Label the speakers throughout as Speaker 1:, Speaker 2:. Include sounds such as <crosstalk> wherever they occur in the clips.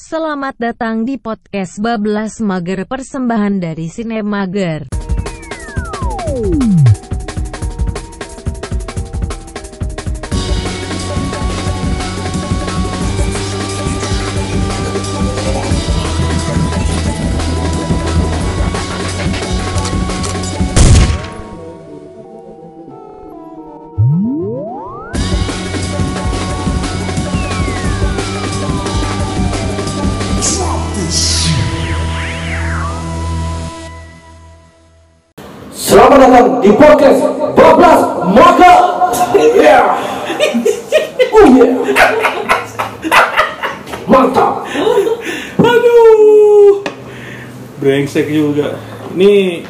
Speaker 1: Selamat datang di podcast Bablas Mager persembahan dari Sinemager.
Speaker 2: Selamat datang di podcast 12 Maka Yeah Oh yeah Mantap
Speaker 3: Aduh. Uh, Brengsek juga. Ini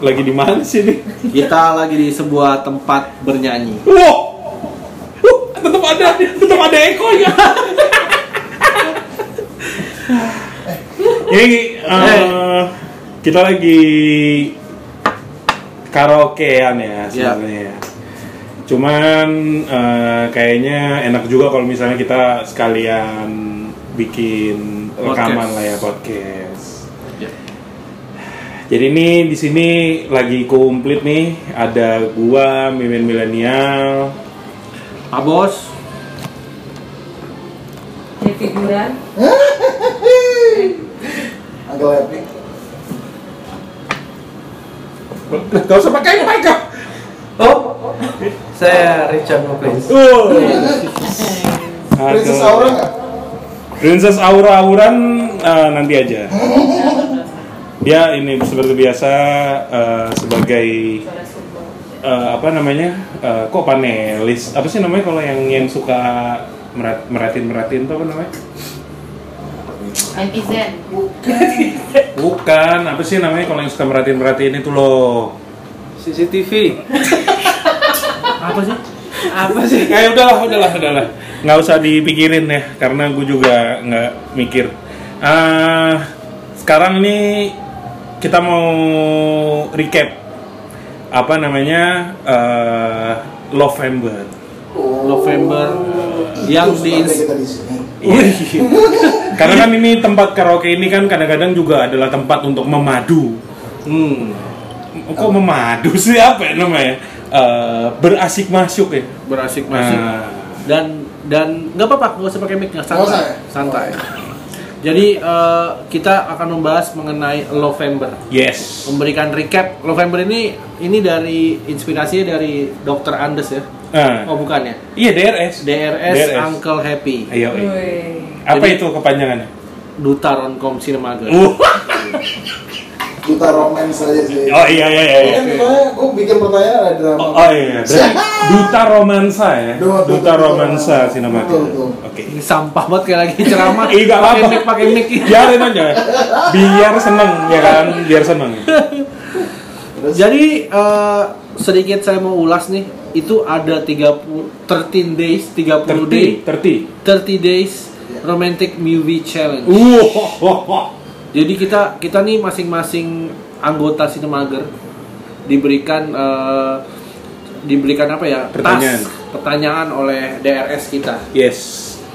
Speaker 3: lagi di mana sih nih?
Speaker 4: Kita lagi di sebuah tempat bernyanyi.
Speaker 3: Wow. Uh, tetap ada, tetap ada ekonya. Ini eh, kita lagi karaokean ya sebenarnya. ya. Cuman eh, kayaknya enak juga kalau misalnya kita sekalian bikin rekaman
Speaker 4: Podcast.
Speaker 3: lah ya podcast.
Speaker 4: Ya.
Speaker 3: Jadi ini di sini lagi komplit nih ada gua Mimin Milenial.
Speaker 4: Pak Bos,
Speaker 5: Ini figuran
Speaker 6: Agak happy.
Speaker 3: Gak usah pakai mic kau.
Speaker 4: saya Richard Muklis.
Speaker 6: Princess Aura nggak?
Speaker 3: Princess Aura Auran eh, nanti aja. Dia ini seperti biasa eh, sebagai eh, apa namanya? Eh, kok panelis? Apa sih namanya kalau yang yang suka merat- meratin-meratin tuh apa namanya?
Speaker 5: netizen
Speaker 3: Bukan, apa sih namanya kalau yang suka meratin-meratin itu loh.
Speaker 4: CCTV. Apa sih? Apa sih?
Speaker 3: Ya udahlah, udahlah, udahlah. Nggak usah dipikirin ya, karena gue juga nggak mikir. Ah, sekarang nih kita mau recap apa namanya eh, November.
Speaker 4: November yang
Speaker 6: Terus
Speaker 4: di
Speaker 6: ada kita di sini.
Speaker 3: Iya. karena kan ini tempat karaoke ini kan kadang-kadang juga adalah tempat untuk memadu.
Speaker 4: hmm,
Speaker 3: Kok memadu sih apa ya namanya? Eh, berasik masuk ya.
Speaker 4: berasik masih
Speaker 3: Nah,
Speaker 4: dan dan nggak apa-apa nggak usah pakai mic nggak
Speaker 6: Nggak usah
Speaker 4: santai
Speaker 6: ya?
Speaker 4: santai. Jadi eh, kita akan membahas mengenai November.
Speaker 3: yes.
Speaker 4: Memberikan recap November ini ini dari inspirasinya dari Dr. Andes ya.
Speaker 3: Nah,
Speaker 4: Oh bukan ya?
Speaker 3: iya DRS.
Speaker 4: DRS, Uncle Happy.
Speaker 3: Ayo. eh.
Speaker 5: Woi.
Speaker 3: Apa
Speaker 4: Jadi-
Speaker 3: itu kepanjangannya?
Speaker 4: Duta Roncom Cinemaga.
Speaker 3: Uh.
Speaker 6: Duta romance aja sih.
Speaker 3: <laughs> Oh iya iya iya. iya.
Speaker 6: Kan soalnya gue bikin pertanyaan ada drama.
Speaker 3: Oh, oh, iya, iya. Berarti duta romansa ya.
Speaker 6: Duh,
Speaker 3: Duta,
Speaker 6: duta- duta
Speaker 3: romansa
Speaker 6: romansa.
Speaker 3: sinemaga.
Speaker 6: Betul, betul.
Speaker 3: Oke.
Speaker 4: Ini sampah banget kayak lagi
Speaker 3: <laughs>
Speaker 4: ceramah.
Speaker 3: Ih, Iya, nggak
Speaker 4: Pakai
Speaker 3: apa-apa. Ya.
Speaker 4: mic, pakai
Speaker 3: <laughs>
Speaker 4: mic.
Speaker 3: Biarin aja. Biar seneng ya kan, biar seneng.
Speaker 6: Terus
Speaker 4: Jadi eh, sedikit saya mau ulas nih, itu ada 30 13 days, 30
Speaker 3: Terti,
Speaker 4: day,
Speaker 3: terti.
Speaker 4: 30 days romantic movie challenge.
Speaker 3: Uh. Ho, ho, ho.
Speaker 4: Jadi kita kita nih masing-masing anggota Sinemager diberikan eh, diberikan apa ya?
Speaker 3: Pertanyaan.
Speaker 4: task, pertanyaan oleh DRS kita.
Speaker 3: Yes.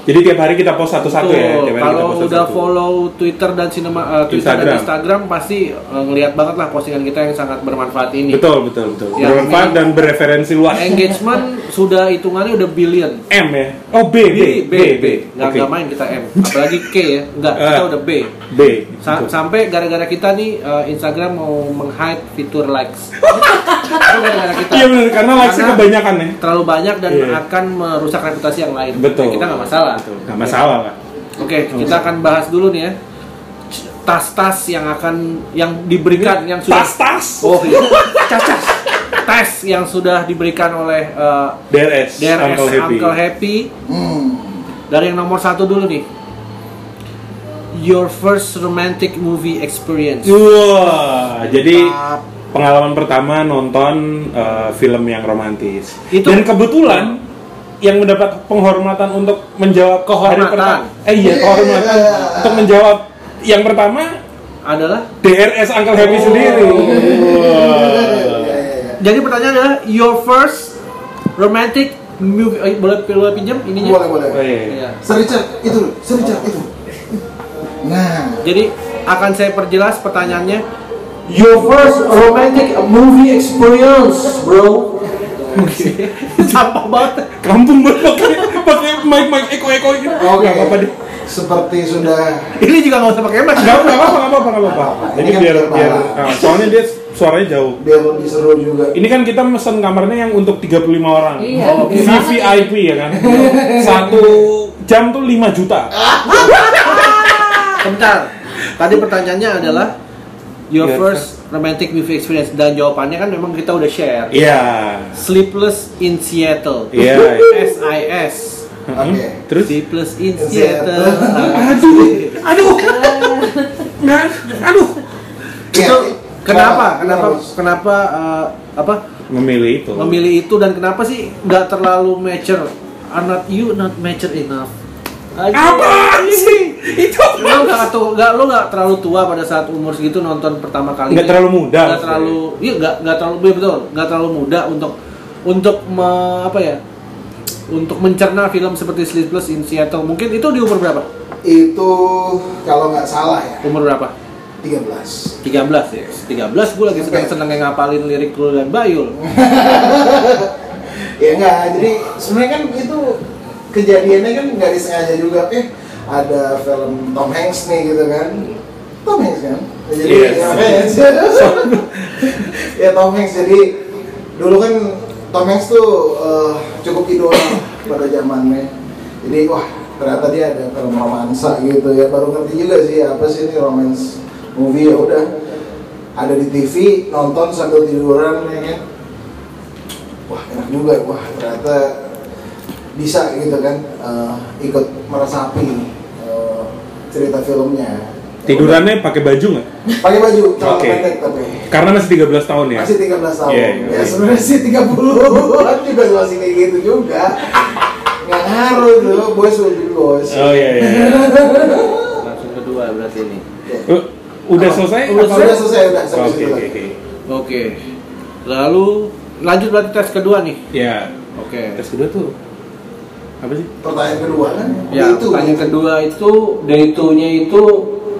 Speaker 3: Jadi tiap hari kita post satu-satu ya, tiap
Speaker 4: Betul.
Speaker 3: hari kita
Speaker 4: Kalau
Speaker 3: post
Speaker 4: udah
Speaker 3: satu-satu.
Speaker 4: follow Twitter dan sinema eh, Twitter
Speaker 3: Instagram.
Speaker 4: dan Instagram pasti eh, ngelihat banget lah postingan kita yang sangat bermanfaat ini.
Speaker 3: Betul, betul, betul.
Speaker 4: Yang
Speaker 3: Bermanfaat
Speaker 4: ini-
Speaker 3: dan bereferensi luas.
Speaker 4: Engagement sudah hitungannya udah billion.
Speaker 3: M ya. Oh, B, B, B, B.
Speaker 4: Nggak,
Speaker 3: Oke.
Speaker 4: nggak main kita M. Apalagi K ya. Nggak,
Speaker 3: Eh.
Speaker 4: kita udah B.
Speaker 3: B.
Speaker 4: Sa-
Speaker 3: Betul.
Speaker 4: sampai gara-gara kita nih eh, Instagram mau meng-hide fitur
Speaker 3: <laughs>
Speaker 4: likes. Itu gara-gara kita.
Speaker 3: Iya benar, karena likes-nya
Speaker 4: Karena
Speaker 3: kebanyakan ya.
Speaker 4: terlalu banyak dan
Speaker 3: Iya.
Speaker 4: akan merusak reputasi yang lain.
Speaker 3: Betul.
Speaker 4: Nah, kita nggak masalah.
Speaker 3: Gak masalah lah.
Speaker 4: Oke, kita akan bahas dulu nih ya C- tas-tas yang akan yang diberikan yang sudah
Speaker 3: Tas-tas.
Speaker 4: oh iya cas-cas tas yang sudah diberikan oleh eh,
Speaker 3: DRS,
Speaker 4: DRS
Speaker 3: Uncle Happy.
Speaker 6: hmm.
Speaker 4: dari yang nomor satu dulu nih your first romantic movie experience
Speaker 3: Wah, jadi pengalaman pertama nonton uh, film yang romantis.
Speaker 4: Itu-
Speaker 3: Dan kebetulan yang mendapat penghormatan untuk menjawab ke hari
Speaker 4: Kehormatan.
Speaker 3: pertama. Eh iya,
Speaker 4: <laughs>
Speaker 3: kehormatan untuk menjawab yang pertama
Speaker 4: adalah
Speaker 3: DRS Uncle Happy
Speaker 4: Oh. <laughs>
Speaker 3: sendiri.
Speaker 6: Iya,
Speaker 3: Wah.
Speaker 6: iya, iya.
Speaker 4: jadi pertanyaan adalah your first romantic movie eh, boleh boleh pinjam ininya
Speaker 6: Boleh, boleh.
Speaker 3: Oh, iya.
Speaker 4: Iya.
Speaker 6: Sir Richard, itu, Sir Richard, itu. Nah,
Speaker 4: Jadi akan saya perjelas <laughs> pertanyaannya.
Speaker 2: Your first romantic movie experience, bro.
Speaker 4: Sampah banget.
Speaker 3: Kampung banget pakai pakai mic mic eko eko gitu.
Speaker 6: oke.
Speaker 3: Nggak apa-apa deh.
Speaker 6: Seperti sudah
Speaker 4: Ini juga nggak usah pakai mic.
Speaker 3: Gak apa apa nggak apa apa nggak apa.
Speaker 6: Ini
Speaker 3: Ini
Speaker 6: kan
Speaker 3: biar
Speaker 6: biar
Speaker 3: biar
Speaker 6: <laughs> parah.
Speaker 3: ah, soalnya dia suaranya jauh.
Speaker 6: biar lebih seru juga.
Speaker 3: Ini kan kita mesen kamarnya yang untuk 35 orang.
Speaker 5: Iya.
Speaker 3: Oh, VVIP ya kan. Satu jam tuh 5 juta.
Speaker 4: Bentar. Tadi pertanyaannya adalah your
Speaker 3: Your
Speaker 4: first romantic movie experience dan jawabannya kan memang kita udah share.
Speaker 3: Iya.
Speaker 4: Sleepless in Seattle.
Speaker 3: Iya.
Speaker 4: SIS.
Speaker 6: Oke.
Speaker 3: Hmm? Terus
Speaker 4: Sleepless in
Speaker 6: In
Speaker 4: Seattle.
Speaker 3: aduh, aduh. Nggak, aduh.
Speaker 4: <laughs> Itu
Speaker 6: Ya, kalau-
Speaker 4: kenapa? Iya. Kenapa?
Speaker 6: harus.
Speaker 4: Kenapa? eh, apa?
Speaker 3: Memilih itu.
Speaker 4: Memilih itu dan kenapa sih nggak terlalu mature? Are not you not mature enough? Aduh.
Speaker 3: Apaan sih? Itu
Speaker 4: Lo nggak tuh nggak lo nggak terlalu tua pada saat umur segitu nonton pertama kali.
Speaker 3: Nggak terlalu muda.
Speaker 4: Nggak terlalu, iya nggak nggak terlalu iya betul, nggak terlalu muda untuk untuk me- apa ya? Untuk mencerna film seperti Sleepless in Seattle. Mungkin itu di umur berapa?
Speaker 6: Itu kalau nggak salah ya,
Speaker 4: Umur berapa?
Speaker 6: 13.
Speaker 4: 13 ya. 13 gue lagi seneng seneng ngapalin lirik lu dan Bayul.
Speaker 6: Ya enggak, jadi sebenarnya kan itu kejadiannya kan nggak disengaja juga. Eh, ada film Tom Hanks nih gitu kan. Tom Hanks kan? Jadi
Speaker 3: Yes.
Speaker 6: Tom Hanks. ya Tom Hanks, jadi dulu kan Tom Hanks tuh eh, cukup idola pada zamannya. Jadi wah ternyata dia ada film romansa gitu ya baru ngerti juga sih apa sih ini romance movie ya udah ada di TV nonton sambil tiduran ya kan wah enak juga ya. wah ternyata bisa gitu kan eh, ikut meresapi eh, cerita filmnya
Speaker 3: Tidurannya pakai baju nggak?
Speaker 6: pakai baju celana
Speaker 3: Oke.
Speaker 6: pendek tapi
Speaker 3: Karena masih 13 tahun ya.
Speaker 6: masih 13 tahun
Speaker 3: Iya, iya.
Speaker 6: ya sebenarnya sih 30 an juga masih kayak gitu juga nggak ngaruh tuh bos will be bos
Speaker 3: Oh iya iya.
Speaker 6: <laughs>
Speaker 3: iya.
Speaker 4: Langsung kedua berarti ini.
Speaker 3: U- Udah selesai?
Speaker 6: udah
Speaker 3: apa?
Speaker 6: sudah selesai udah sampai
Speaker 3: Oke
Speaker 6: situ
Speaker 3: oke
Speaker 6: lah.
Speaker 3: oke.
Speaker 4: Oke. Lalu lanjut berarti tes kedua nih.
Speaker 3: Ya.
Speaker 4: Oke.
Speaker 3: Tes kedua tuh apa sih?
Speaker 6: pertanyaan kedua kan
Speaker 3: Iya,
Speaker 4: Ya,
Speaker 6: itu
Speaker 4: pertanyaan kedua itu day nya itu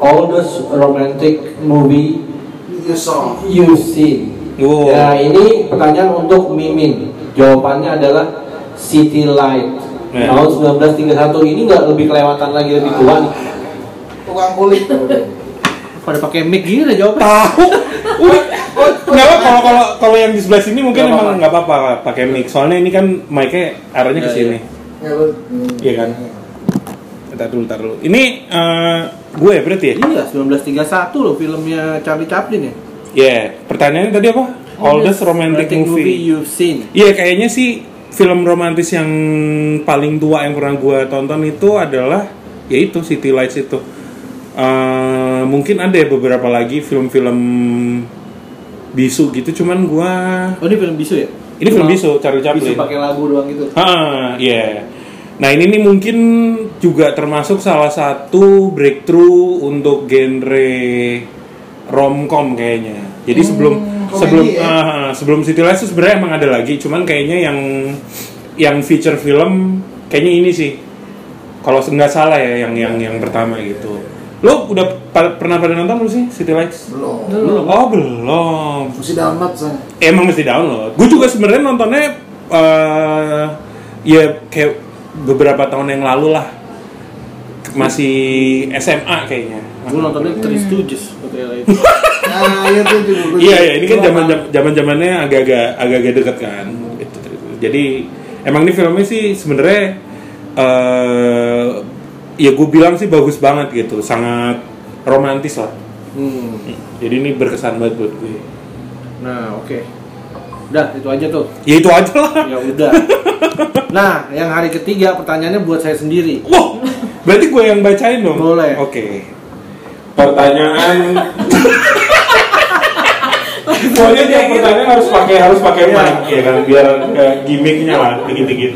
Speaker 4: oldest romantic movie
Speaker 6: you saw
Speaker 4: you seen.
Speaker 3: Wow.
Speaker 4: Nah, ini pertanyaan untuk Mimin. Jawabannya adalah City Light.
Speaker 3: Ya.
Speaker 4: Tahun 1931 ini nggak lebih kelewatan lagi lebih tua nih.
Speaker 6: tukang kulit
Speaker 4: Pada pakai mic gini udah jawabnya.
Speaker 3: Tahu. <laughs> Udah. Nggak apa kalau kalau kalau yang di sebelah sini mungkin
Speaker 4: Nggak apa-apa.
Speaker 3: emang nggak apa-apa pakai mic. Soalnya ini kan mic-nya arahnya ke
Speaker 4: Iya,
Speaker 3: sini.
Speaker 6: ya lu hmm.
Speaker 3: Iya kan? Ntar dulu, ntar dulu. Ini eh, gue berarti ya?
Speaker 4: Iya, 1931 loh filmnya Charlie Chaplin ya.
Speaker 3: Iya. Pertanyaannya tadi apa? Oldest romantic, movie.
Speaker 4: you've seen.
Speaker 3: Iya, kayaknya sih film romantis yang paling tua yang pernah gue tonton itu adalah yaitu City Lights itu. Eh, mungkin ada ya beberapa lagi film-film bisu gitu, cuman gue
Speaker 4: Oh, ini film bisu ya?
Speaker 3: ini film
Speaker 4: Cuma
Speaker 3: bisu Charlie
Speaker 4: Bisu
Speaker 3: Chaplin.
Speaker 4: pakai lagu doang gitu.
Speaker 3: Ah, iya. Nah, ini nih mungkin juga termasuk salah satu breakthrough untuk genre romcom kayaknya. Jadi sebelum
Speaker 6: Hmm, komedi
Speaker 3: sebelum
Speaker 6: ya?
Speaker 3: ah, sebelum City Lights tuh sebenarnya emang ada lagi, cuman kayaknya yang yang feature film kayaknya ini sih. Kalau nggak salah ya yang yang yang pertama gitu. Lo udah pa- pernah pada nonton belum sih City Lights?
Speaker 6: belum
Speaker 3: Belum. Oh, belum
Speaker 6: mesti download saya
Speaker 3: emang mesti download. Gue juga sebenarnya nontonnya eh ya kayak beberapa tahun yang lalu lah. Masih SMA kayaknya.
Speaker 4: Gue nontonnya Three Stooges
Speaker 3: <laughs>
Speaker 4: pakai itu.
Speaker 6: nah itu juga gua-
Speaker 3: Iya ya, ini kan zaman zaman zamannya agak-agak agak-agak dekat kan. Gitu. Jadi emang ini filmnya sih sebenarnya eh ya gue bilang sih bagus banget gitu, sangat romantis lah.
Speaker 4: Hmm.
Speaker 3: Jadi ini berkesan banget buat gue.
Speaker 4: Nah, oke. Udah, itu aja tuh.
Speaker 3: Ya itu aja lah.
Speaker 4: Ya udah. nah, yang hari ketiga pertanyaannya buat saya sendiri.
Speaker 3: Wah, berarti gue yang bacain dong.
Speaker 4: Boleh.
Speaker 3: Oke. Pertanyaan. Pokoknya yang pertanyaan harus pakai harus pakai mic ya kan biar nggak gimmicknya lah dikit-dikit.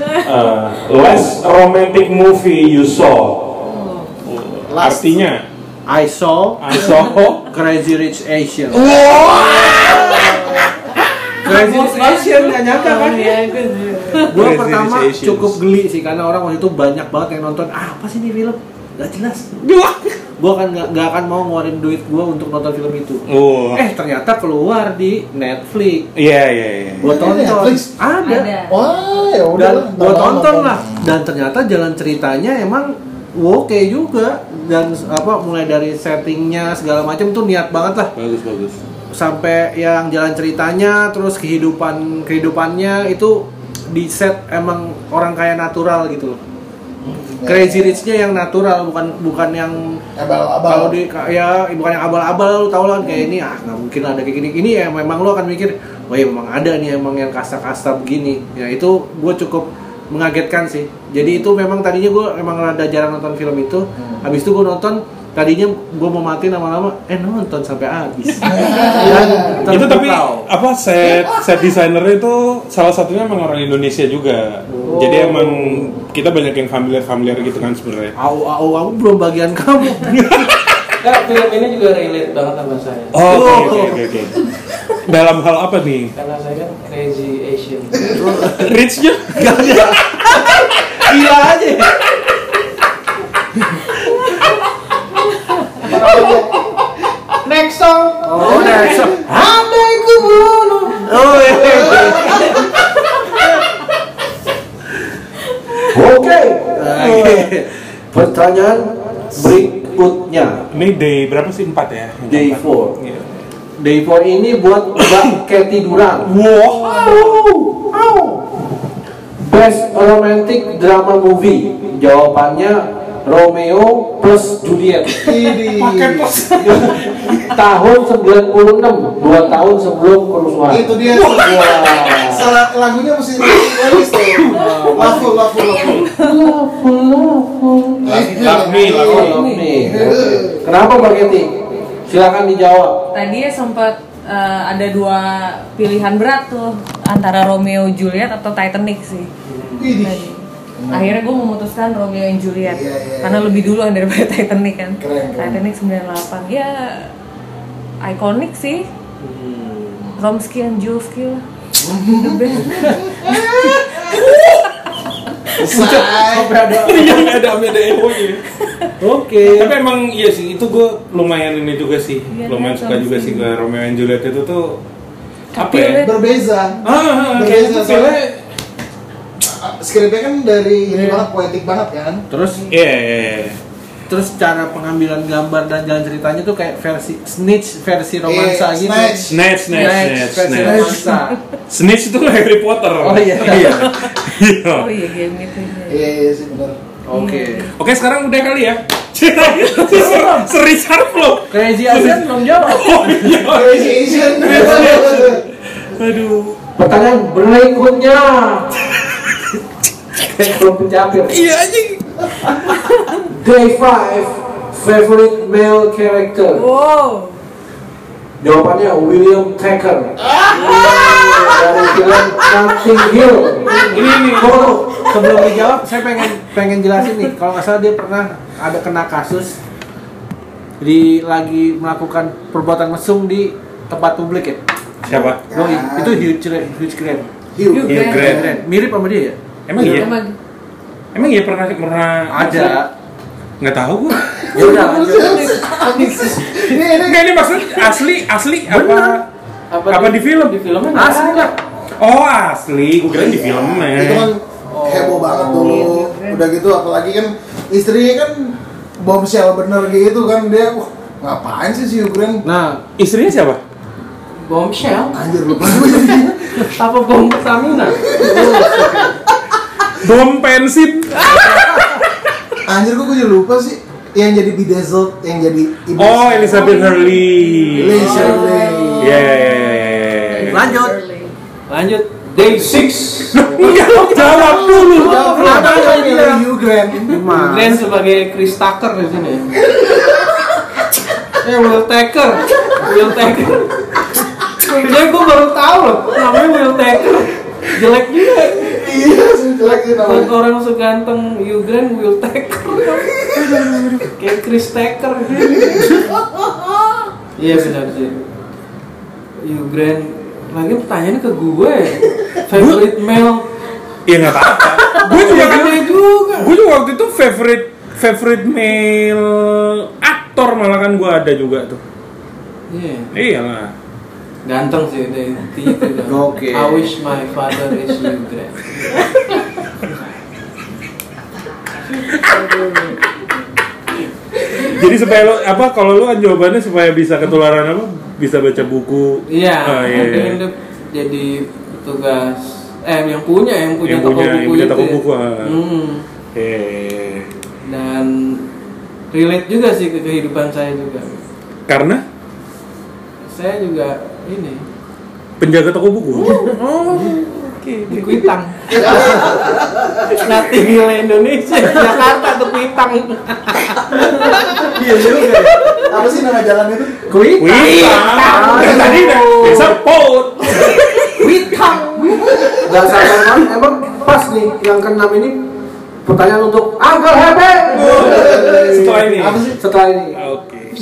Speaker 3: Eh, last romantic movie you saw.
Speaker 6: Last.
Speaker 3: Artinya,
Speaker 4: I saw
Speaker 3: I
Speaker 4: <laughs>
Speaker 3: saw.
Speaker 4: Crazy Rich Asian. Crazy
Speaker 5: Bagus
Speaker 4: Rich
Speaker 5: banget.
Speaker 4: Asian nggak nyangka kan?
Speaker 5: Iya, gue juga.
Speaker 4: Gue
Speaker 3: Crazy
Speaker 4: pertama
Speaker 3: Rich Asians.
Speaker 4: cukup geli sih karena orang waktu itu banyak banget yang nonton ah, apa sih ini film? Gak jelas. gue akan nggak nggak akan mau ngeluarin duit gue untuk nonton film itu
Speaker 3: Oh.
Speaker 4: eh ternyata keluar di Netflix
Speaker 3: Iya, iya, iya.
Speaker 4: gue
Speaker 6: Ada
Speaker 4: tonton
Speaker 6: Netflix?
Speaker 4: ada,
Speaker 5: Ada.
Speaker 6: Wah, ya udah.
Speaker 4: dan
Speaker 6: lah,
Speaker 4: gue
Speaker 6: nonton,
Speaker 4: tonton
Speaker 6: nonton.
Speaker 4: lah dan ternyata jalan ceritanya emang oke juga dan apa mulai dari settingnya segala macam tuh niat banget lah
Speaker 3: Bagus, bagus.
Speaker 4: sampai yang jalan ceritanya terus kehidupan kehidupannya itu di set emang orang kaya natural gitu loh
Speaker 6: Ya.
Speaker 4: crazy rich-nya yang natural bukan bukan yang
Speaker 6: Abal-abal.
Speaker 4: kalau di ya bukan yang abal-abal lu tau lah kayak ini ah nggak mungkin ada kayak gini ini ya memang lu akan mikir wah ya memang ada nih emang yang kasta-kasta begini ya itu gue cukup mengagetkan sih jadi itu memang tadinya gue emang rada jarang nonton film itu habis itu gue nonton tadinya gue mau mati lama-lama eh nonton sampai habis Dan
Speaker 3: Itu tapi
Speaker 4: terpukau.
Speaker 3: apa set set desainernya itu salah satunya emang orang Indonesia juga. Jadi emang kita banyak yang familiar familiar gitu kan sebenarnya.
Speaker 4: au au au belum bagian kamu
Speaker 7: Nah, film ini juga relate banget sama saya.
Speaker 3: Oh, oke oke oke, oke. Dalam hal apa nih?
Speaker 7: Karena saya kan crazy Asian.
Speaker 3: Rich-nya?
Speaker 4: gila aja ya.
Speaker 6: Next song.
Speaker 4: oh udah
Speaker 6: Andai ku bunuh.
Speaker 4: oh iya.
Speaker 2: Oke.
Speaker 4: Oke. <laughs> pertanyaan berikutnya
Speaker 3: Ini day berapa sih? Empat ya?
Speaker 4: Day
Speaker 3: Empat.
Speaker 4: four.
Speaker 3: Iya.
Speaker 4: Day 4 ini buat Mbak Ketiduran. Wow. Best romantic drama movie. Jawabannya Romeo plus Juliet.
Speaker 6: Ini.
Speaker 4: <laughs> tahun 96, 2 tahun sebelum kerusuhan.
Speaker 6: Itu dia. tuh. Salah lagunya mesti nulis tuh. Laku, laku, laku.
Speaker 3: Lakmi, lakmi.
Speaker 4: Oh, ini. Kenapa Mbak Keti? Silakan dijawab.
Speaker 5: Tadi ya sempat eh, ada dua pilihan berat tuh antara Romeo Juliet atau Titanic sih. Tadi. Akhirnya gue memutuskan Romeo and Juliet
Speaker 6: Iya, iya, iya.
Speaker 5: karena lebih duluan daripada <laughs> Titanic kan.
Speaker 6: Keren, keren.
Speaker 5: Titanic 98 ya ikonik sih.
Speaker 6: Hmm.
Speaker 5: Romsky and Jovsky
Speaker 6: <laughs>
Speaker 5: lah. The best.
Speaker 6: Selesai.
Speaker 3: <laughs> Iya, ada ada ewo-nya.
Speaker 4: <laughs> Oke.
Speaker 3: Tapi emang iya sih, itu gue lumayan ini juga sih,
Speaker 5: Iya,
Speaker 3: lumayan
Speaker 5: kan,
Speaker 3: suka juga sih ke Romeo and Juliet itu tuh apa ya?
Speaker 5: Tapi-
Speaker 6: Berbeza.
Speaker 3: Ah, ah, ah,
Speaker 6: Berbeza,
Speaker 3: kayak itu
Speaker 6: soalnya-
Speaker 3: feelnya-
Speaker 6: Skripnya kan dari ini banget, poetik banget kan.
Speaker 4: Terus
Speaker 3: Iya, iya, iya.
Speaker 4: terus cara pengambilan gambar dan jalan ceritanya tuh kayak versi snitch versi romansa
Speaker 6: Iya,
Speaker 4: gitu.
Speaker 6: snatch.
Speaker 3: Snatch, snatch, snatch,
Speaker 4: versi
Speaker 3: snatch.
Speaker 4: romansa.
Speaker 3: Snitch itu kan Harry Potter.
Speaker 4: Oh, iya.
Speaker 3: <laughs> Iya. Iya.
Speaker 5: Oh iya game itu.
Speaker 6: Iya, iya sih benar.
Speaker 4: Oke.
Speaker 3: Oke, sekarang udah kali ya. Seri Richard belum.
Speaker 4: Crazy Asian belum jawab.
Speaker 3: Oh iya.
Speaker 6: Crazy Asian.
Speaker 3: Aduh.
Speaker 4: Pertanyaan
Speaker 3: <laughs>
Speaker 4: berikutnya. Kayak belum pencapir.
Speaker 3: Iya anjing.
Speaker 4: Day 5 favorite male character.
Speaker 5: Wow.
Speaker 4: Jawabannya William Tucker.
Speaker 6: Iya.
Speaker 4: Dari film Nothing Hill.
Speaker 3: Ini ini.
Speaker 4: Oh, sebelum dijawab, saya pengen pengen jelasin nih. Kalau nggak salah dia pernah ada kena kasus di lagi melakukan perbuatan mesum di tempat publik ya.
Speaker 3: Siapa?
Speaker 4: Gua- itu huge huge grand.
Speaker 6: Hugh.
Speaker 5: Hugh
Speaker 3: Hugh
Speaker 5: Grant.
Speaker 3: Grant.
Speaker 4: Mirip sama dia ya?
Speaker 3: Emang iya?
Speaker 5: Emang
Speaker 3: Emang iya pernah pernah
Speaker 4: Ada.
Speaker 3: Nggak tahu gua.
Speaker 4: Ya udah lanjut.
Speaker 6: Ini ini
Speaker 3: Enggak ini maksud asli asli apa?
Speaker 7: Apa,
Speaker 3: Apa di film?
Speaker 7: Di filmnya nggak
Speaker 4: Asli lah.
Speaker 3: Oh asli, gua kira di
Speaker 6: Itu kan
Speaker 3: filmnya. Oh.
Speaker 6: heboh banget dulu. Udah gitu apalagi kan istrinya kan bombshell bener gitu kan dia wah ngapain sih si Hugh Grant?
Speaker 4: Nah,
Speaker 3: Istrinya siapa?
Speaker 7: ada. bombshell. <laughs>
Speaker 6: Anjir lupa gue jadi. <laughs>
Speaker 7: Apa bom Pertamina?
Speaker 3: Bom pensin.
Speaker 6: Anjir kok gue jadi lupa sih yang jadi bedazzled, yang jadi ibu.
Speaker 3: Oh Elizabeth Hurley.
Speaker 6: Lee Shirley.
Speaker 3: Iya iya iya, iya, iya.
Speaker 4: lanjut.
Speaker 7: Lanjut
Speaker 3: <laughs>
Speaker 7: day 6.
Speaker 3: Enggak, Iya, jawab dulu.
Speaker 6: Oh, kenapa yang milih Hugh Grant?
Speaker 4: Gimana?
Speaker 7: Glenn sebagai Chris Tucker di
Speaker 3: <laughs>
Speaker 7: sini. eh Will Tucker, Will
Speaker 3: <laughs>
Speaker 7: Tucker. Sebenarnya gue baru tahu loh namanya Will Tucker. Jelek juga.
Speaker 6: Iya, sih, jelek sih
Speaker 7: Buat
Speaker 6: namanya.
Speaker 7: orang seganteng Hugh Grant, Will <laughs> Tucker. Kayak Chris Tucker. Iya benar sih. Hugh Grant. Lagi pertanyaannya ke gue. ya. Favorite male.
Speaker 3: Iya nggak apa-apa. Gue juga
Speaker 7: Gue juga.
Speaker 3: gue juga waktu itu favorite favorite male aktor aktor malah kan gue ada juga tuh
Speaker 7: Iya.
Speaker 3: iyalah
Speaker 7: Ganteng sih itu intinya itu. udah.
Speaker 4: Oke.
Speaker 7: I wish my father is you Dre.
Speaker 3: jadi supaya lo apa kalau lo kan jawabannya supaya bisa ketularan apa bisa baca buku
Speaker 7: Iya,
Speaker 3: Ah, iya, iya.
Speaker 7: pengen dia jadi petugas eh yang punya yang punya
Speaker 3: Yang
Speaker 7: toko
Speaker 3: punya- yang
Speaker 7: buku
Speaker 3: punya
Speaker 7: itu
Speaker 3: toko
Speaker 7: ya.
Speaker 3: buku, ah.
Speaker 7: Hmm,
Speaker 3: Eh,
Speaker 7: dan relate juga sih ke kehidupan saya juga
Speaker 3: karena
Speaker 7: saya juga ini
Speaker 3: penjaga toko buku
Speaker 7: Uh, di Kuitang <laughs> nanti gila Indonesia Jakarta ke Kuitang
Speaker 6: Iya juga. ya. Apa sih nama jalan itu?
Speaker 4: Kuit.
Speaker 3: Wih, kan tadi udah disebut.
Speaker 4: Dan sabar banget, emang pas nih yang keenam ini pertanyaan untuk Uncle Hebe.
Speaker 3: Setelah ini.
Speaker 4: Apa sih? Setelah ini.
Speaker 3: Oke.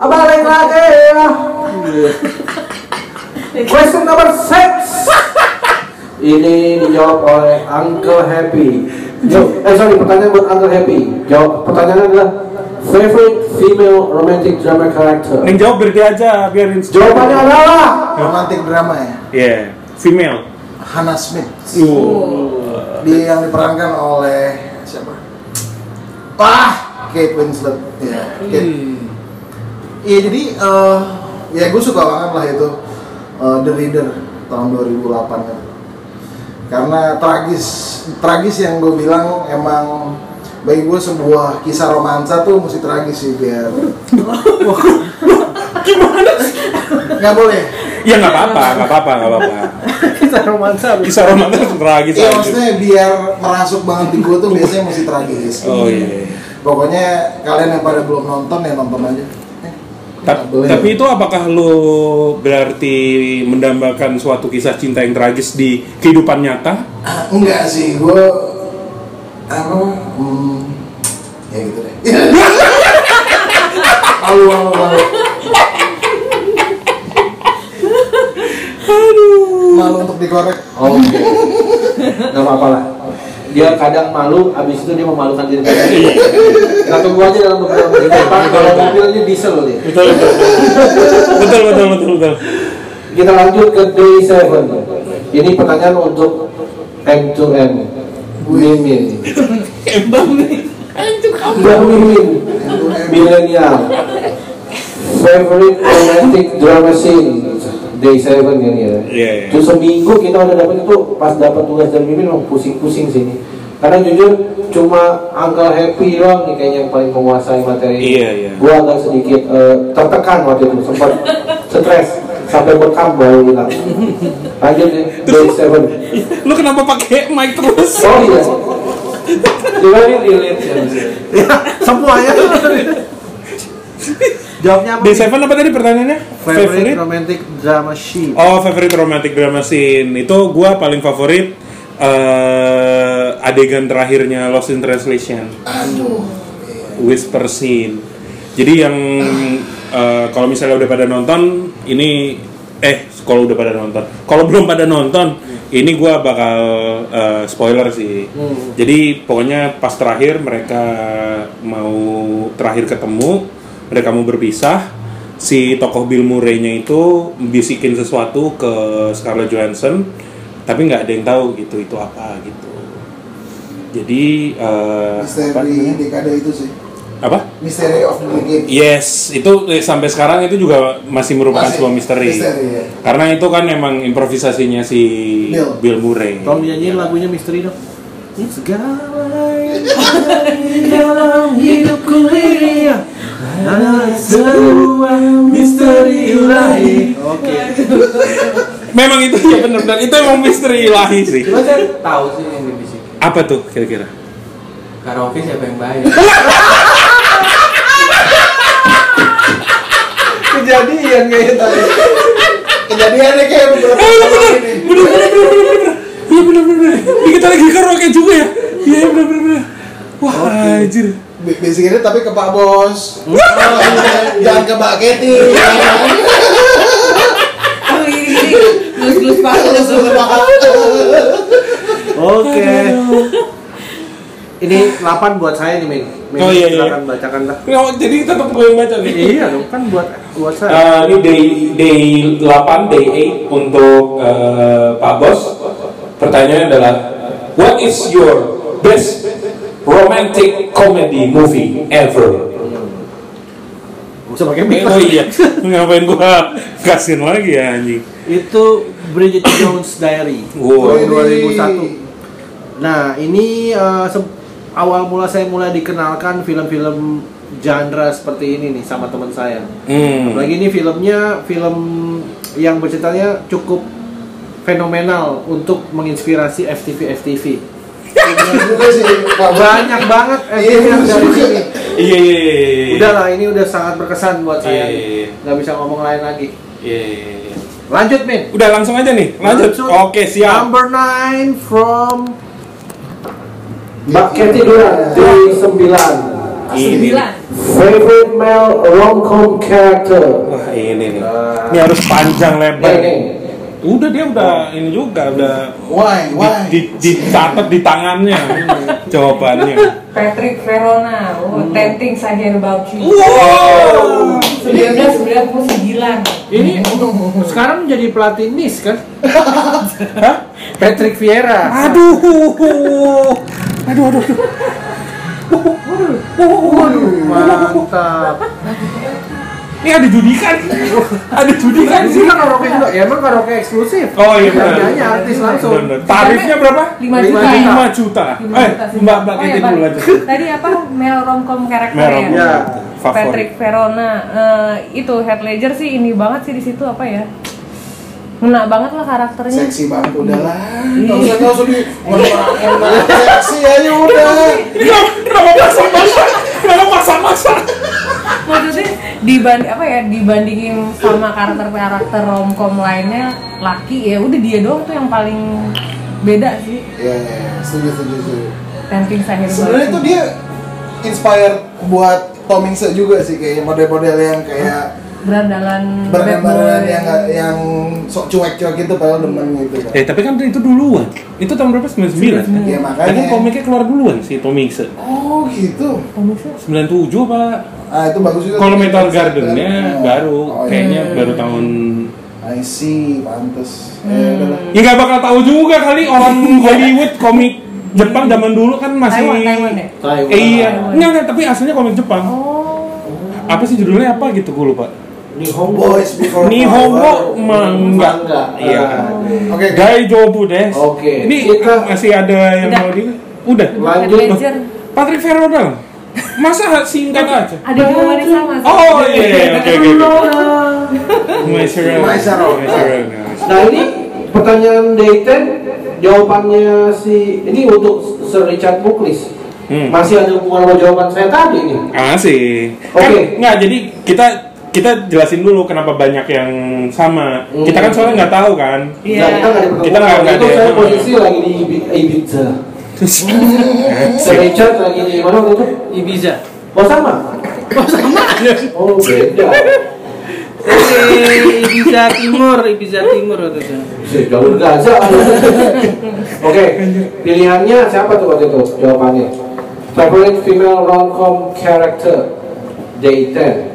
Speaker 4: Apa balik lagi ya? Question number six. Ini dijawab oleh Uncle Happy. Jo, eh sorry, pertanyaan buat Uncle Happy. Jawab pertanyaannya adalah favorite female romantic drama character.
Speaker 3: Yang jawab berarti aja biarin.
Speaker 4: Jawabannya adalah
Speaker 6: Romantic drama ya.
Speaker 3: Iya, female.
Speaker 6: Hannah Smith.
Speaker 7: Oh.
Speaker 3: Uh.
Speaker 6: Dia yang diperankan oleh siapa? Wah, Kate Winslet. Iya, Kate. Iya, jadi eh, ya gue suka banget lah itu eh, The Reader tahun 2008 kan. Karena tragis, tragis yang gue bilang emang bagi gue sebuah kisah romansa tuh mesti tragis sih biar. Gimana? Nggak boleh.
Speaker 3: Ya nggak apa-apa, nggak apa-apa, nggak apa-apa.
Speaker 4: kisah romansa.
Speaker 3: <laughs> Kisah romantis tragis
Speaker 6: Iya
Speaker 3: aja.
Speaker 6: maksudnya biar merasuk banget di gue tuh biasanya mesti tragis.
Speaker 3: Oh iya.
Speaker 6: Pokoknya kalian yang pada belum nonton ya nonton aja. Eh,
Speaker 3: Ta-
Speaker 6: boleh.
Speaker 3: tapi itu apakah lo berarti mendambakan suatu kisah cinta yang tragis di kehidupan nyata?
Speaker 6: Ah, enggak sih, gue apa? Hmm, ya gitu deh. <laughs> Malu malu malu. Malu untuk dikorek.
Speaker 4: Oh, Oke. Gak apa-apa lah. Dia kadang malu, abis itu dia memalukan diri sendiri. Kita tunggu aja dalam beberapa menit. ke depan. Kalau mobilnya diesel loh dia.
Speaker 3: Betul, betul, betul, betul, betul, betul.
Speaker 4: Kita lanjut ke day 7 Ini pertanyaan untuk M2M.
Speaker 3: <coughs>
Speaker 4: Mimin. Mbak Mimin. Milenial. Favorite romantic drama scene day 7 ini ya.
Speaker 3: Iya, iya.
Speaker 4: Terus seminggu kita udah dapet itu pas dapat tugas dari Mimin memang pusing-pusing sini. Karena jujur cuma Uncle Happy doang nih kayaknya yang paling menguasai materi. ini.
Speaker 3: Iya, iya.
Speaker 4: Gua agak sedikit eh, tertekan waktu itu sempat stres sampai bekam baru hilang. kan. Lanjut ya, day 7
Speaker 3: Lo kenapa pakai mic terus?
Speaker 4: Sorry ya. Juga ini relate ya.
Speaker 2: Semuanya. Jawabnya apa?
Speaker 3: D7 apa tadi pertanyaannya?
Speaker 4: Favorite romantic drama she.
Speaker 3: Oh, favorite romantic drama scene itu gua paling favorit eh, adegan terakhirnya Lost in Translation. Whisper scene. Jadi yang eh, kalau misalnya udah pada nonton ini eh kalau udah pada nonton. Kalau <laughs> belum pada nonton ini gua bakal eh, spoiler sih. Jadi pokoknya pas terakhir mereka mau terakhir ketemu, mereka mau berpisah si tokoh Bill Murray-nya itu bisikin sesuatu ke Scarlett Johansson tapi nggak ada yang tahu gitu itu apa gitu jadi eh, apa,
Speaker 6: Misteri dekade itu sih.
Speaker 3: apa
Speaker 6: Misteri of the decade.
Speaker 3: yes itu eh, sampai sekarang itu juga masih merupakan
Speaker 6: Masih
Speaker 3: sebuah misteri,
Speaker 6: misteri, ya.
Speaker 3: karena itu kan emang improvisasinya si
Speaker 6: Bill.
Speaker 3: Bill, Murray
Speaker 4: Tolong dinyanyiin lagunya misteri dong. Segala yang dalam hidupku ini adalah sebuah misteri ilahi. Oke.
Speaker 3: memang itu ya benar-benar itu emang misteri ilahi sih
Speaker 7: cuma saya tahu sih yang dibisikin
Speaker 3: apa tuh kira-kira
Speaker 7: karaoke siapa yang bayar
Speaker 6: Kejadian kayak tadi. Kejadiannya kayak beberapa
Speaker 3: Eh,
Speaker 6: tahun
Speaker 3: bener
Speaker 6: ini.
Speaker 3: bener bener bener bener bener Iya, bener bener bener Ini kita lagi karaoke juga ya iya iya, bener bener bener wah anjir
Speaker 6: Ba- Basic ini tapi ke Pak <laughs> Bos. Jangan ke Pak Keti.
Speaker 5: Aku gini-gini, gelus-gelus paku.
Speaker 6: Terus ke Pak-
Speaker 4: Oke. Ini 8 buat saya nih, Min. Min,
Speaker 3: Oh, iya, iya.
Speaker 4: silakan bacakan lah.
Speaker 3: Kenapa? Jadi tetap gue yang baca nih.
Speaker 4: Iya, dong, kan buat buat saya.
Speaker 3: Eh, ini day day 8 day 8 untuk eh, Pak Bos. Pertanyaannya adalah what is your best romantic comedy movie ever?
Speaker 4: Gak usah pakai
Speaker 3: Eh,
Speaker 4: mic.
Speaker 3: Oh iya, ngapain gua kasihin lagi ya anjing.
Speaker 4: Itu Bridget Jones Diary.
Speaker 3: Wow.
Speaker 4: Tahun 2001. Nah, ini eh, se- awal mula saya mulai dikenalkan film-film genre seperti ini nih sama teman saya.
Speaker 3: Hmm.
Speaker 4: Apalagi ini filmnya film yang berceritanya cukup fenomenal untuk menginspirasi FTV FTV.
Speaker 6: Bener Iya, juga sih Pak Bos.
Speaker 4: Banyak banget
Speaker 6: Iya,
Speaker 4: FTV yang
Speaker 6: bener
Speaker 4: dari
Speaker 6: juga.
Speaker 4: sini.
Speaker 3: Iya iya iya. iya, iya.
Speaker 4: Udah lah, ini udah sangat berkesan buat
Speaker 3: Iya,
Speaker 4: saya.
Speaker 3: iya, iya.
Speaker 4: Nggak bisa ngomong lain lagi.
Speaker 3: Iya, iya, iya.
Speaker 4: Lanjut, Min.
Speaker 3: Udah langsung aja nih, lanjut. Oke siap.
Speaker 4: Number 9 from
Speaker 2: Mbak Kety Duran day 9
Speaker 5: Sembilan.
Speaker 2: Favorite male rom-com character
Speaker 3: Wah ini nih. Ini harus panjang lebar.
Speaker 2: Nih, nih.
Speaker 3: Udah dia udah ini juga udah
Speaker 6: Why? Why?
Speaker 3: di, di, dicatat di tangannya jawabannya.
Speaker 5: Patrick Verona, oh,
Speaker 3: Hmm.
Speaker 5: Tempting Sahir Bauchi.
Speaker 3: Iya. Wow.
Speaker 5: 1999.
Speaker 4: ini sekarang menjadi pelatih Nice <laughs> kan? Patrick Vieira.
Speaker 3: Aduh. Aduh aduh. aduh.
Speaker 4: Mantap.
Speaker 3: Ini ada judikan. Ada judikan
Speaker 4: Ini
Speaker 3: sih.
Speaker 4: kan karaoke juga. Ya emang karaoke eksklusif.
Speaker 3: Oh iya benar.
Speaker 4: Harganya artis langsung.
Speaker 3: Benar, benar. Tarifnya berapa?
Speaker 5: 5 juta. ya?
Speaker 3: 5 juta.
Speaker 5: Lima
Speaker 3: Eh,
Speaker 5: juta sih.
Speaker 3: Mbak Mbak
Speaker 5: Oh,
Speaker 3: Kety
Speaker 5: iya,
Speaker 3: dulu
Speaker 5: Mbak.
Speaker 3: aja.
Speaker 5: Tadi apa Mel romcom karakternya?
Speaker 3: Merah.
Speaker 5: ya?
Speaker 3: Ya.
Speaker 5: Patrick Verona Eh, itu Head Ledger sih ini banget sih di situ apa ya ngena banget lah karakternya
Speaker 6: Seksi banget udah lah. Enggak usah enggak usah di ngomong seksi aja udah. Iya,
Speaker 3: Kenapa maksa-maksa? Kenapa maksa-maksa?
Speaker 5: maksudnya diband apa ya dibandingin sama karakter karakter romcom lainnya laki ya udah dia doang tuh yang paling beda sih
Speaker 6: Iya, iya, iya. setuju setuju setuju.
Speaker 5: Tempting Sahir
Speaker 6: Sebenarnya tuh dia inspired buat Tom Hanks juga sih kayak model-model yang kayak
Speaker 5: berandalan bad
Speaker 6: barang-barang
Speaker 5: boy.
Speaker 6: yang nggak- yang sok cuek-cuek gitu padahal demen gitu kan.
Speaker 3: Eh, tapi kan itu duluan. Itu tahun berapa? 99.
Speaker 6: Ya
Speaker 3: Kan
Speaker 6: makanya.
Speaker 3: komiknya keluar duluan sih Tommy Hickson.
Speaker 6: Oh gitu.
Speaker 5: Komiknya
Speaker 3: 97 apa?
Speaker 6: Ah itu bagus juga.
Speaker 3: Kalau Metal Garden-nya
Speaker 6: Oh.
Speaker 3: baru
Speaker 6: Oh, iya.
Speaker 3: kayaknya baru tahun
Speaker 6: I see, pantes. Eh, udah lah.
Speaker 3: Ya nggak bakal tahu juga kali orang Hollywood komik Jepang zaman dulu kan masih
Speaker 5: Taiwan Taiwan ya
Speaker 4: Taiwan.
Speaker 3: Eh, iya, enggak, enggak, tapi aslinya komik Jepang.
Speaker 5: oh
Speaker 3: Apa sih judulnya apa gitu gue lupa.
Speaker 4: Nihongo.
Speaker 6: Boys before
Speaker 3: Nihongo mangga.
Speaker 4: Mangga.
Speaker 3: Iya.
Speaker 6: Oke.
Speaker 3: Dai Jobu des.
Speaker 4: Oke.
Speaker 3: Ini
Speaker 4: Kita-
Speaker 3: masih ada yang
Speaker 5: Udah.
Speaker 3: mau di Udah.
Speaker 5: Head
Speaker 4: Lanjut.
Speaker 5: Ledger
Speaker 3: Patrick Verona. Masa singkat aja?
Speaker 5: ada jawabannya sama sih.
Speaker 3: Oh iya, iya, oke oke. oke. My Serena.
Speaker 6: My Serena.
Speaker 3: My Serena.
Speaker 4: Nah ini pertanyaan day 10 jawabannya si ini untuk Sir Richard Buklis.
Speaker 3: Hmm.
Speaker 4: Masih ada hubungan sama jawaban saya tadi nih.
Speaker 3: Ah sih.
Speaker 4: Oke.
Speaker 3: Kan nggak jadi kita kita jelasin dulu kenapa banyak yang sama.
Speaker 4: Hmm.
Speaker 3: Kita kan soalnya nggak tahu kan.
Speaker 5: Iya.
Speaker 4: Nah, kita nggak ada
Speaker 3: Kita nggak- nggak
Speaker 4: pertemuan. Itu
Speaker 3: ada. ya.
Speaker 4: saya posisi lagi di Ibi-
Speaker 3: <laughs>
Speaker 4: Ibiza. Sir Richard lagi di mana waktu itu?
Speaker 7: Ibiza.
Speaker 4: Oh sama? Oh sama? Oh beda.
Speaker 7: Oke, Ibiza Timur, Ibiza Timur waktu itu.
Speaker 4: Buset, Jalur Gaza. Oke, pilihannya siapa tuh waktu itu jawabannya? Favorite female romcom character day 10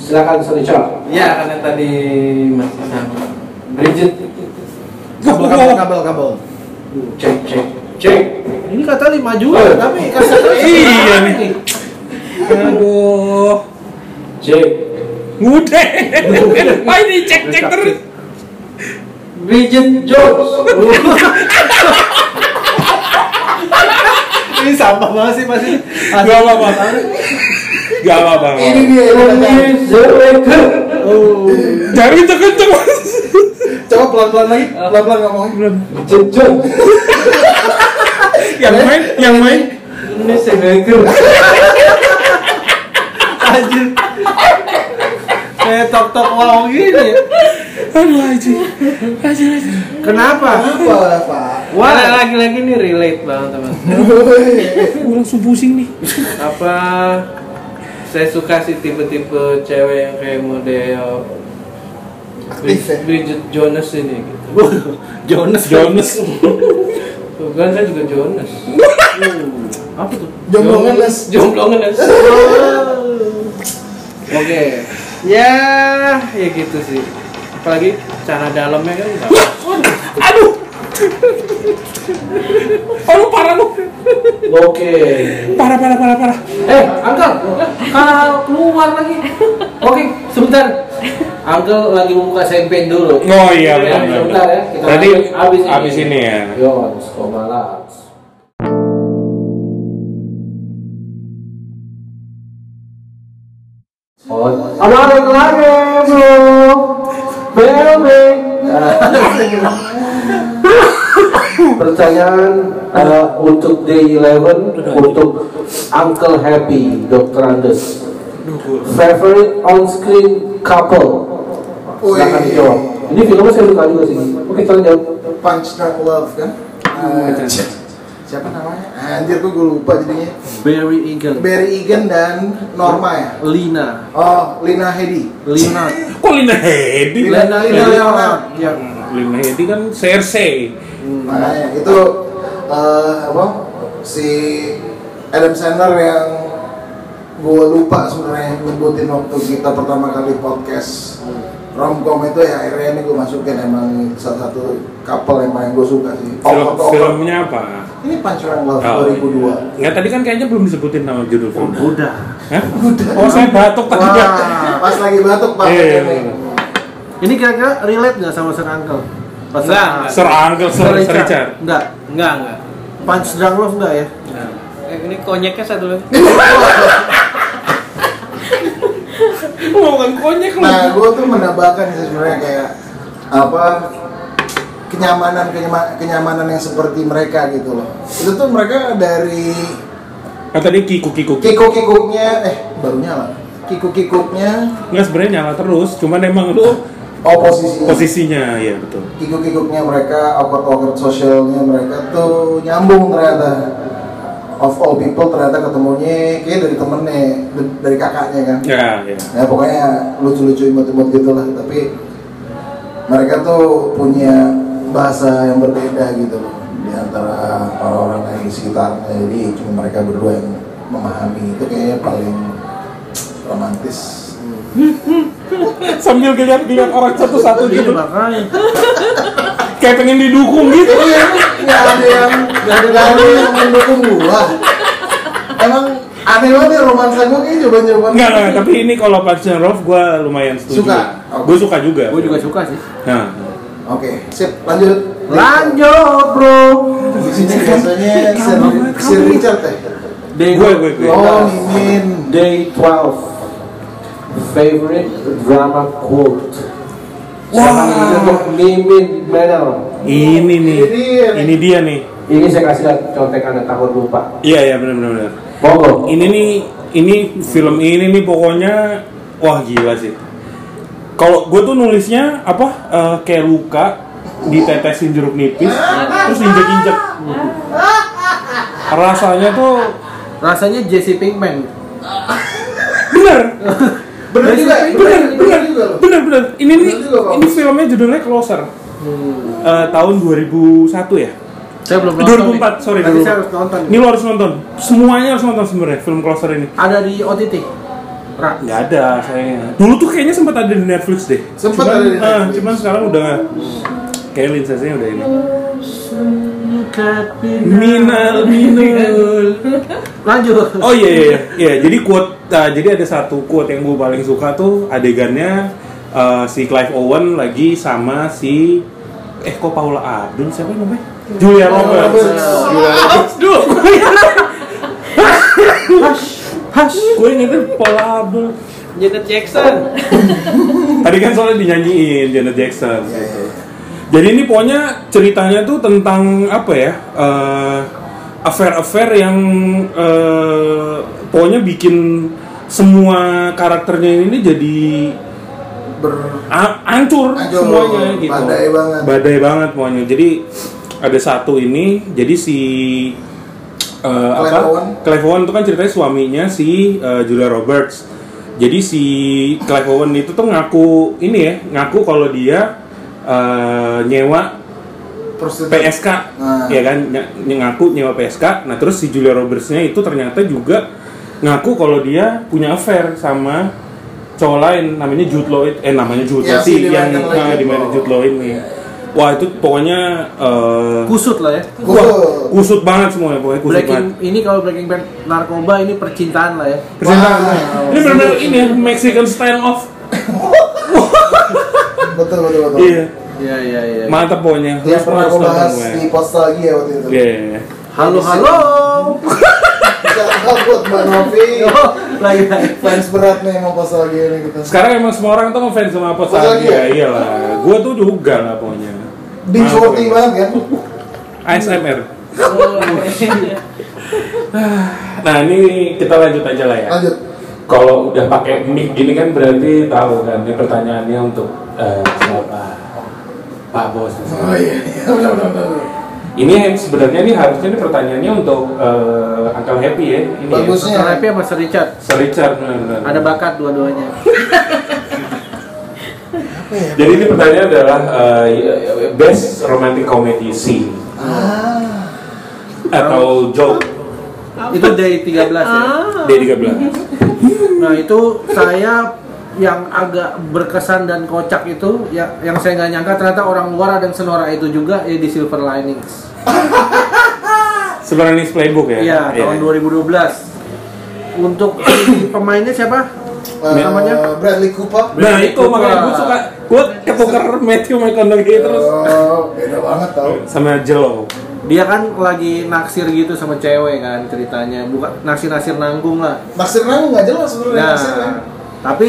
Speaker 4: Silakan Sir Richard.
Speaker 7: Ya, karena tadi masih sama. Bridget.
Speaker 6: Kabel kabel kabel kabel.
Speaker 4: Cek cek cek. Ini kata 5 juga, tapi
Speaker 3: Iya nih. Aduh.
Speaker 4: cek.
Speaker 3: Udah. Wah ini cek cek terus.
Speaker 7: Bridget Jones.
Speaker 4: Ini sama banget sih masih.
Speaker 3: Gak apa-apa. Gak apa-apa.
Speaker 6: Ini dia ini dia.
Speaker 4: Oh.
Speaker 3: Jari kenceng.
Speaker 6: Coba pelan pelan lagi, pelan pelan ngomongnya.
Speaker 3: Yang main, yang main.
Speaker 7: Ini sebagai
Speaker 4: Anjir. Kayak tok-tok wow gini.
Speaker 3: Aduh aja. Aja aja.
Speaker 4: Kenapa?
Speaker 6: Apa pak?
Speaker 7: Wah, lagi-lagi ini relate banget
Speaker 3: <laughs>
Speaker 7: teman.
Speaker 3: Gue langsung pusing nih.
Speaker 7: Apa saya suka sih tipe-tipe cewek yang kayak model
Speaker 6: Aktif ya.
Speaker 7: Brid- Bridget Jones ini gitu.
Speaker 4: Jonas.
Speaker 3: Jonas.
Speaker 7: Tuh kan saya juga Jonas. Apa tuh?
Speaker 6: Jomblo ngenes.
Speaker 7: Jomblo ngenes.
Speaker 6: <laughs>
Speaker 4: Oke.
Speaker 7: ya, ya gitu sih. Apalagi cara dalamnya kan nggak.
Speaker 8: Aduh. Aduh parah lu.
Speaker 9: Oke.
Speaker 8: Parah parah parah parah.
Speaker 4: Eh, Uncle, kalau keluar lagi. Oke, sebentar. Uncle lagi mau buka champagne dulu.
Speaker 8: Oh iya
Speaker 4: Ya,
Speaker 8: benar. benar.
Speaker 4: sebentar ya. Kita
Speaker 8: Tadi
Speaker 4: habis- habis ini.
Speaker 8: habis ini ya.
Speaker 4: Yo, sekolah lah. Oh, ada yang lagi belum? Belum.
Speaker 9: Pertanyaan eh, untuk day 11 untuk Uncle Happy, Dr. Andes. Favorite on-screen couple?
Speaker 6: Wih.
Speaker 9: Silahkan jawab. Ini filmnya saya suka juga sih. Oke, kalian jawab.
Speaker 6: Punch Drunk Love kan? Eh, siapa namanya? Anjir gue, gue lupa jadinya.
Speaker 4: Barry Eagle,
Speaker 6: Barry Egan dan Norma ya.
Speaker 4: Lina,
Speaker 6: Oh, Lina Hedi.
Speaker 4: Lina,
Speaker 8: Kok Lina Hedi?
Speaker 6: Lina, Lina, Lina Leonard.
Speaker 4: Ya.
Speaker 8: Lina Hedi kan Cersei.
Speaker 6: Makanya itu eh, apa? Si Adam Sandler yang gue lupa sebenarnya nyebutin waktu kita pertama kali podcast romcom itu ya akhirnya ini gue masukin emang salah satu couple yang paling gue suka sih.
Speaker 8: Film,
Speaker 6: Over to over.
Speaker 8: filmnya apa?
Speaker 6: Ini Punch Drunk Love
Speaker 8: Oh. <laughs>
Speaker 6: 2002.
Speaker 8: Enggak tadi kan kayaknya belum disebutin nama judul filmnya.
Speaker 4: Udah.
Speaker 8: Hah? Oh saya batuk tadi.
Speaker 6: Wah, pas lagi batuk pak.
Speaker 8: Iya, iya,
Speaker 6: Ini.
Speaker 8: iya.
Speaker 4: Ini kira-kira relate nggak sama Sir Uncle? Pas
Speaker 7: Nggak,
Speaker 4: Sir-
Speaker 7: nggak.
Speaker 8: Sir Uncle, Sir, Sir Richard.
Speaker 4: Nggak.
Speaker 7: Enggak, enggak.
Speaker 4: Punch Drunk Love nggak ya?
Speaker 7: Eh, ini konyeknya satu
Speaker 8: <laughs>
Speaker 7: lagi.
Speaker 8: Mau kan konyek lu.
Speaker 6: Nah, gue tuh menambahkan sih sebenarnya kayak apa kenyamanan kenyama- kenyamanan yang seperti mereka gitu loh. Itu tuh mereka dari
Speaker 8: Nah, tadi kiku kiku.
Speaker 6: kikuk kikuknya eh baru nyala. Kikuk kikuknya
Speaker 8: Enggak sebenarnya nyala terus, cuman emang lu
Speaker 6: oposisinya.
Speaker 8: posisinya ya betul.
Speaker 6: Kikuk kikuknya mereka, awkward awkward sosialnya mereka tuh nyambung ternyata. Of all people ternyata ketemunya kayak dari temennya, d- dari kakaknya kan.
Speaker 8: Ya, ya.
Speaker 6: ya pokoknya lucu-lucu imut-imut gitu lah tapi mereka tuh punya bahasa yang berbeda gitu loh di antara orang-orang lain di sekitarnya jadi cuma mereka berdua yang memahami itu kayaknya paling romantis
Speaker 8: Sambil ngeliat-ngeliat orang satu-satu
Speaker 4: Iya.
Speaker 8: gitu.
Speaker 4: makanya.
Speaker 8: Kayak pengen didukung gitu.
Speaker 6: iya nggak ada yang nggak ada nggak ada yang mendukung gua emang aneh banget ya romansa gua kayak gitu. coba-coba
Speaker 8: Enggak, enggak, tapi ini kalau Punch and Love gue lumayan setuju.
Speaker 6: Suka?
Speaker 8: Gue suka juga.
Speaker 4: Gue juga suka sih.
Speaker 8: Nah,
Speaker 6: oke sip lanjut
Speaker 4: Lanjut bro.
Speaker 6: di sini biasanya Sir, Sir Richard ya
Speaker 4: Day
Speaker 8: gue, gue, gue.
Speaker 6: oh mimin
Speaker 9: Day 12. Favorite drama quote? Wah. Untuk Mimin Menel.
Speaker 8: Ini nih,
Speaker 6: Ini dia nih.
Speaker 8: ini dia nih.
Speaker 9: Ini saya kasih lihat contekan anda takut lupa.
Speaker 8: Iya, iya benar benar. benar.
Speaker 9: Monggo.
Speaker 8: Ini nih, ini film ini nih pokoknya wah gila sih. Kalau gue tuh nulisnya apa eh, kayak luka ditetesin jeruk nipis terus injek-injek. Rasanya tuh
Speaker 4: Rasanya Jesse Pinkman.
Speaker 8: bener
Speaker 6: bener juga
Speaker 8: bener bener
Speaker 6: juga loh
Speaker 8: bener bener ini
Speaker 6: Bener
Speaker 8: nih
Speaker 6: juga, Pak. Hmm.
Speaker 8: ini filmnya judulnya Closer Eh, tahun 2001 ya
Speaker 4: Saya belum nonton.
Speaker 8: 2004 sorry
Speaker 4: Tapi
Speaker 8: 2004.
Speaker 4: saya harus nonton.
Speaker 8: ini lo harus nonton semuanya harus nonton sebenarnya film Closer ini
Speaker 4: Ada di OTT. Ra.
Speaker 8: nggak ada sayangnya dulu tuh kayaknya sempat ada di Netflix deh
Speaker 6: Sempat
Speaker 8: Cuman-
Speaker 6: ada di
Speaker 8: eh,
Speaker 6: Netflix.
Speaker 8: cuman sekarang udah kayak linsesnya udah ini minal minul
Speaker 4: Lanjut.
Speaker 8: Oh iya iya iya. Jadi quote uh, jadi ada satu quote yang gue paling suka tuh adegannya uh, si Clive Owen lagi sama si eh kok Paula Abdul siapa namanya? Julia Oh, Roberts. Julia Roberts. Duh. Hash, gue ingetnya Paula Abdul.
Speaker 7: Janet Jackson.
Speaker 8: <laughs> Tadi kan soalnya dinyanyiin Janet Jackson. gitu. Jadi ini pokoknya ceritanya tuh tentang apa ya? eh affair-affair yang eh, pokoknya bikin semua karakternya ini jadi
Speaker 6: Ber-
Speaker 8: a- hancur
Speaker 6: Hancur,
Speaker 8: semuanya gitu.
Speaker 6: badai banget.
Speaker 8: Badai banget pokoknya. Jadi ada satu ini, jadi si eh,
Speaker 6: Clive
Speaker 8: apa?
Speaker 6: Owen.
Speaker 8: Clive Owen itu kan ceritanya suaminya si eh, Julia Roberts. Jadi si Clive Owen itu tuh ngaku ini ya, ngaku kalau dia eh, nyewa
Speaker 6: persetan-
Speaker 3: PSK
Speaker 6: Nah.
Speaker 3: ya kan ny- ny- ngaku nyewa PSK nah terus si Julia Robertsnya itu ternyata juga ngaku kalau dia punya affair sama cowok lain namanya Jude Law it- eh namanya Jude
Speaker 6: Ya,
Speaker 3: Law sih
Speaker 6: si di
Speaker 3: yang
Speaker 6: American Legend.
Speaker 3: nah, di mana Jude Law ini wah itu pokoknya eh,
Speaker 4: kusut lah ya
Speaker 3: wah,
Speaker 6: Google.
Speaker 3: kusut banget semuanya pokoknya kusut
Speaker 4: Breaking
Speaker 3: banget
Speaker 4: ini kalau Breaking Bad narkoba ini percintaan lah ya
Speaker 3: Percintaan.
Speaker 6: Wah.
Speaker 3: ini benar-benar ini ya, Mexican style off
Speaker 6: Betul betul betul.
Speaker 3: iya
Speaker 4: iya iya iya
Speaker 3: mantap
Speaker 6: Yang
Speaker 3: pokoknya Harus-
Speaker 6: pernah
Speaker 3: harus
Speaker 6: aku
Speaker 3: nonton
Speaker 6: bahas
Speaker 3: pokoknya.
Speaker 6: di post lagi ya waktu itu.
Speaker 3: Iya, iya, iya.
Speaker 4: halo halo
Speaker 6: Jangan buat Mbak Novi.
Speaker 4: lagi lagi
Speaker 6: Fans berat nih mau post lagi ini kita.
Speaker 3: Sekarang emang semua orang tuh ngefans sama apa
Speaker 6: Apple lagi ya?
Speaker 3: saja. Iyalah, gua tuh juga lah pokoknya.
Speaker 6: Binge
Speaker 3: Mantap.
Speaker 6: worthy banget kan?
Speaker 3: ASMR. <laughs> Nah, ini kita lanjut aja lah ya.
Speaker 6: Lanjut.
Speaker 3: Kalau udah pakai mic gini kan berarti tahu kan ini pertanyaannya untuk eh, siapa? Pak Bos.
Speaker 6: Oh iya iya <laughs> benar benar benar.
Speaker 3: Ini yang sebenarnya ini harusnya ini pertanyaannya untuk eh, Uncle Happy ya. Ini ya.
Speaker 6: Bagusnya.
Speaker 4: Happy sama Sir Richard
Speaker 3: Sir Richard benar-benar.
Speaker 4: ada bakat dua-duanya
Speaker 3: Jadi ini pertanyaannya adalah eh, best romantic comedy scene
Speaker 6: Ah.
Speaker 3: atau joke
Speaker 4: itu dari 13 ya
Speaker 3: Ah. D13.
Speaker 4: Nah itu saya yang agak berkesan dan kocak itu ya, yang saya nggak nyangka ternyata orang luar ada yang senora itu juga ya di Silver Linings.
Speaker 3: Silver Linings Playbook ya?
Speaker 4: Iya tahun 2012. Untuk pemainnya siapa?
Speaker 6: Eh,
Speaker 4: Namanya?
Speaker 6: Bradley Cooper.
Speaker 3: Nah itu makanya gue suka, gue ketukar Matthew McConaughey terus
Speaker 6: Oh, beda banget tau.
Speaker 3: Sama Jello
Speaker 4: Dia kan lagi naksir gitu sama cewek kan ceritanya, bukan naksir-naksir nanggung lah.
Speaker 6: Naksirnya nggak jelas sebenarnya
Speaker 4: Nah,
Speaker 6: naksirnya.
Speaker 4: tapi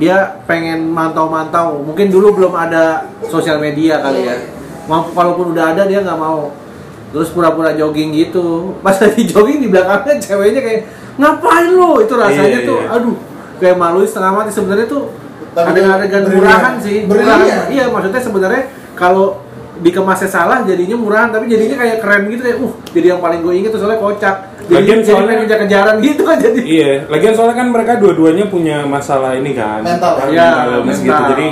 Speaker 4: dia pengen mantau-mantau. Mungkin dulu belum ada sosial media kali ya. Mau walaupun udah ada dia nggak mau. Terus pura-pura jogging gitu. <laughs> Pas lagi jogging di belakangnya ceweknya kayak ngapain lo? Itu rasanya
Speaker 3: Iya,
Speaker 4: tuh,
Speaker 3: iya.
Speaker 4: aduh, kayak malu setengah mati sebenarnya tuh.
Speaker 6: Tapi
Speaker 4: Ada adegan
Speaker 6: berlebihan.
Speaker 4: murahan sih.
Speaker 6: Berlebihan.
Speaker 4: Murahan. Iya, maksudnya sebenarnya kalau dikemasnya salah jadinya murahan tapi jadinya kayak keren gitu kayak uh jadi yang paling gue inget tuh soalnya kocak jadi,
Speaker 3: Lagian
Speaker 4: jadi
Speaker 3: soalnya-
Speaker 4: pengen kejar-kejaran gitu kan jadi
Speaker 3: Iya, lagian soalnya kan mereka dua-duanya punya masalah ini kan
Speaker 6: Mental.
Speaker 3: Kan,
Speaker 4: Iya,
Speaker 3: mental illness
Speaker 4: mental.
Speaker 3: gitu Jadi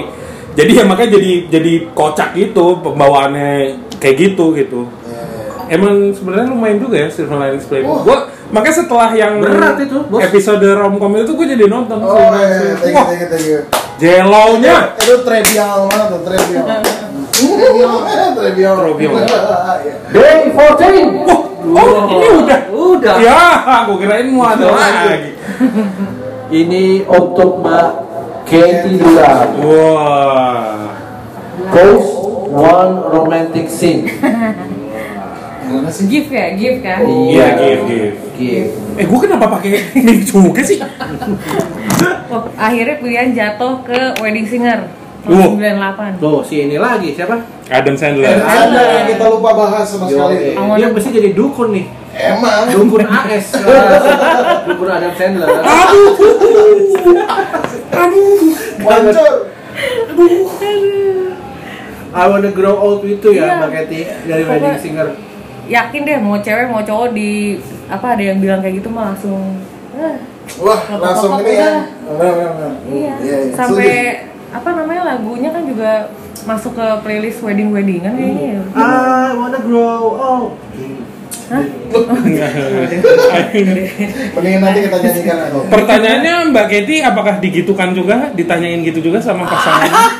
Speaker 3: jadi ya makanya jadi jadi kocak gitu pembawaannya kayak gitu gitu.
Speaker 6: Iya.
Speaker 3: Emang sebenarnya lumayan juga ya Silver Linings Playbook.
Speaker 6: Oh.
Speaker 3: Gua makanya setelah yang
Speaker 4: Berat itu, bos.
Speaker 3: episode romcom itu gue jadi nonton.
Speaker 6: Oh, iya,
Speaker 3: Silver
Speaker 6: thank
Speaker 3: Linings
Speaker 6: you,
Speaker 3: Playbook.
Speaker 6: thank you, thank you.
Speaker 3: Wah, jelaunya.
Speaker 6: Itu trivial banget tuh, trivial. <laughs> Trivial, trivial.
Speaker 3: Trivial.
Speaker 6: <laughs> Iya.
Speaker 4: Day 14.
Speaker 3: Wah, oh, ini udah.
Speaker 7: Udah.
Speaker 3: Ya, aku kirain mau ada lagi.
Speaker 4: Ini untuk Mbak Katie Duran.
Speaker 3: Wah.
Speaker 4: Post one romantic scene.
Speaker 6: Gimana sih?
Speaker 5: Gift ya, gift kan?
Speaker 6: Oh.
Speaker 3: Iya, give, give.
Speaker 4: Give.
Speaker 3: Eh, gue kenapa pakai ini juga sih?
Speaker 5: Wah, akhirnya pilihan jatuh ke wedding singer
Speaker 3: Wow.
Speaker 5: tahun 98.
Speaker 4: Tuh, si ini lagi siapa?
Speaker 3: Adam
Speaker 6: Eh,
Speaker 3: Sandler.
Speaker 6: Ada yang kita lupa bahas sama
Speaker 4: Iya,
Speaker 6: sekali.
Speaker 4: Yo, Dia mesti jadi dukun nih.
Speaker 6: Emang.
Speaker 4: Dukun AS. <laughs> dukun Adam Sandler.
Speaker 6: Wancur.
Speaker 4: I wanna grow old itu ya,
Speaker 5: Iya.
Speaker 4: Mbak Katie dari Wedding Singer.
Speaker 5: Yakin deh mau cewek mau cowok di apa ada yang bilang kayak gitu mah langsung "Ah,
Speaker 6: Wah, langsung ini ya. Benar, benar, benar.
Speaker 5: iya.
Speaker 6: Iya, iya.
Speaker 5: Sampai apa namanya lagunya kan juga masuk ke playlist wedding weddingan kayaknya ya.
Speaker 3: Ah.
Speaker 4: I wanna grow old.
Speaker 6: Setuju. Mendingan nanti kita nyanyikan aku.
Speaker 8: Iya.
Speaker 3: Pertanyaannya Mbak Kety apakah digitukan juga? Ditanyain gitu juga sama pasangan?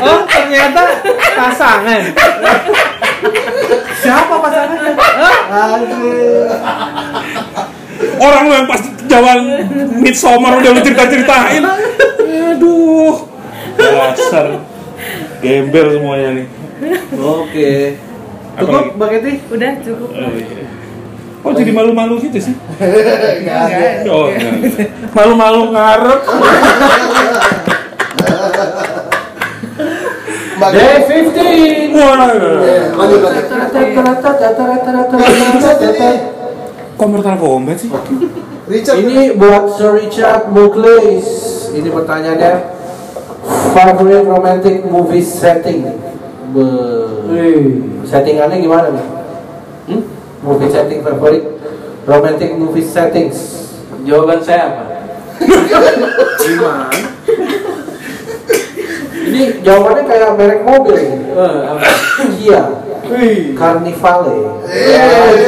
Speaker 7: Oh ternyata pasangan.
Speaker 4: Siapa pasangannya? Aduh.
Speaker 3: Orang lu yang pas jalan midsummer udah lu cerita-ceritain. Aduh. Dasar. Gembel semuanya nih.
Speaker 4: Oke.
Speaker 3: Apa
Speaker 4: Cukup,
Speaker 3: lagi?
Speaker 4: Mbak Katie?
Speaker 5: Udah cukup.
Speaker 3: Oh, iya. Kok jadi malu-malu gitu sih?
Speaker 6: Enggak ada.
Speaker 3: Oh, iya. malu-malu ngarep.
Speaker 6: Mbak
Speaker 4: Day
Speaker 6: Dev.
Speaker 4: 15.
Speaker 3: Wah.
Speaker 6: Lanjut, lanjut. Richard ini.
Speaker 3: Kok Mortal Kombat sih?
Speaker 6: Richard
Speaker 9: Iya.
Speaker 6: ini.
Speaker 4: Ini buat Sir Richard Muklis. Ini pertanyaannya favorite romantic movie setting. Be settingannya gimana nih? Hmm? Movie setting favorit romantic movie settings.
Speaker 7: Jawaban saya apa? Gimana?
Speaker 10: Ini jawabannya kayak merek mobil ini.
Speaker 8: Eh,
Speaker 10: Kia,
Speaker 7: Wih.
Speaker 10: Carnivale.
Speaker 4: Eh.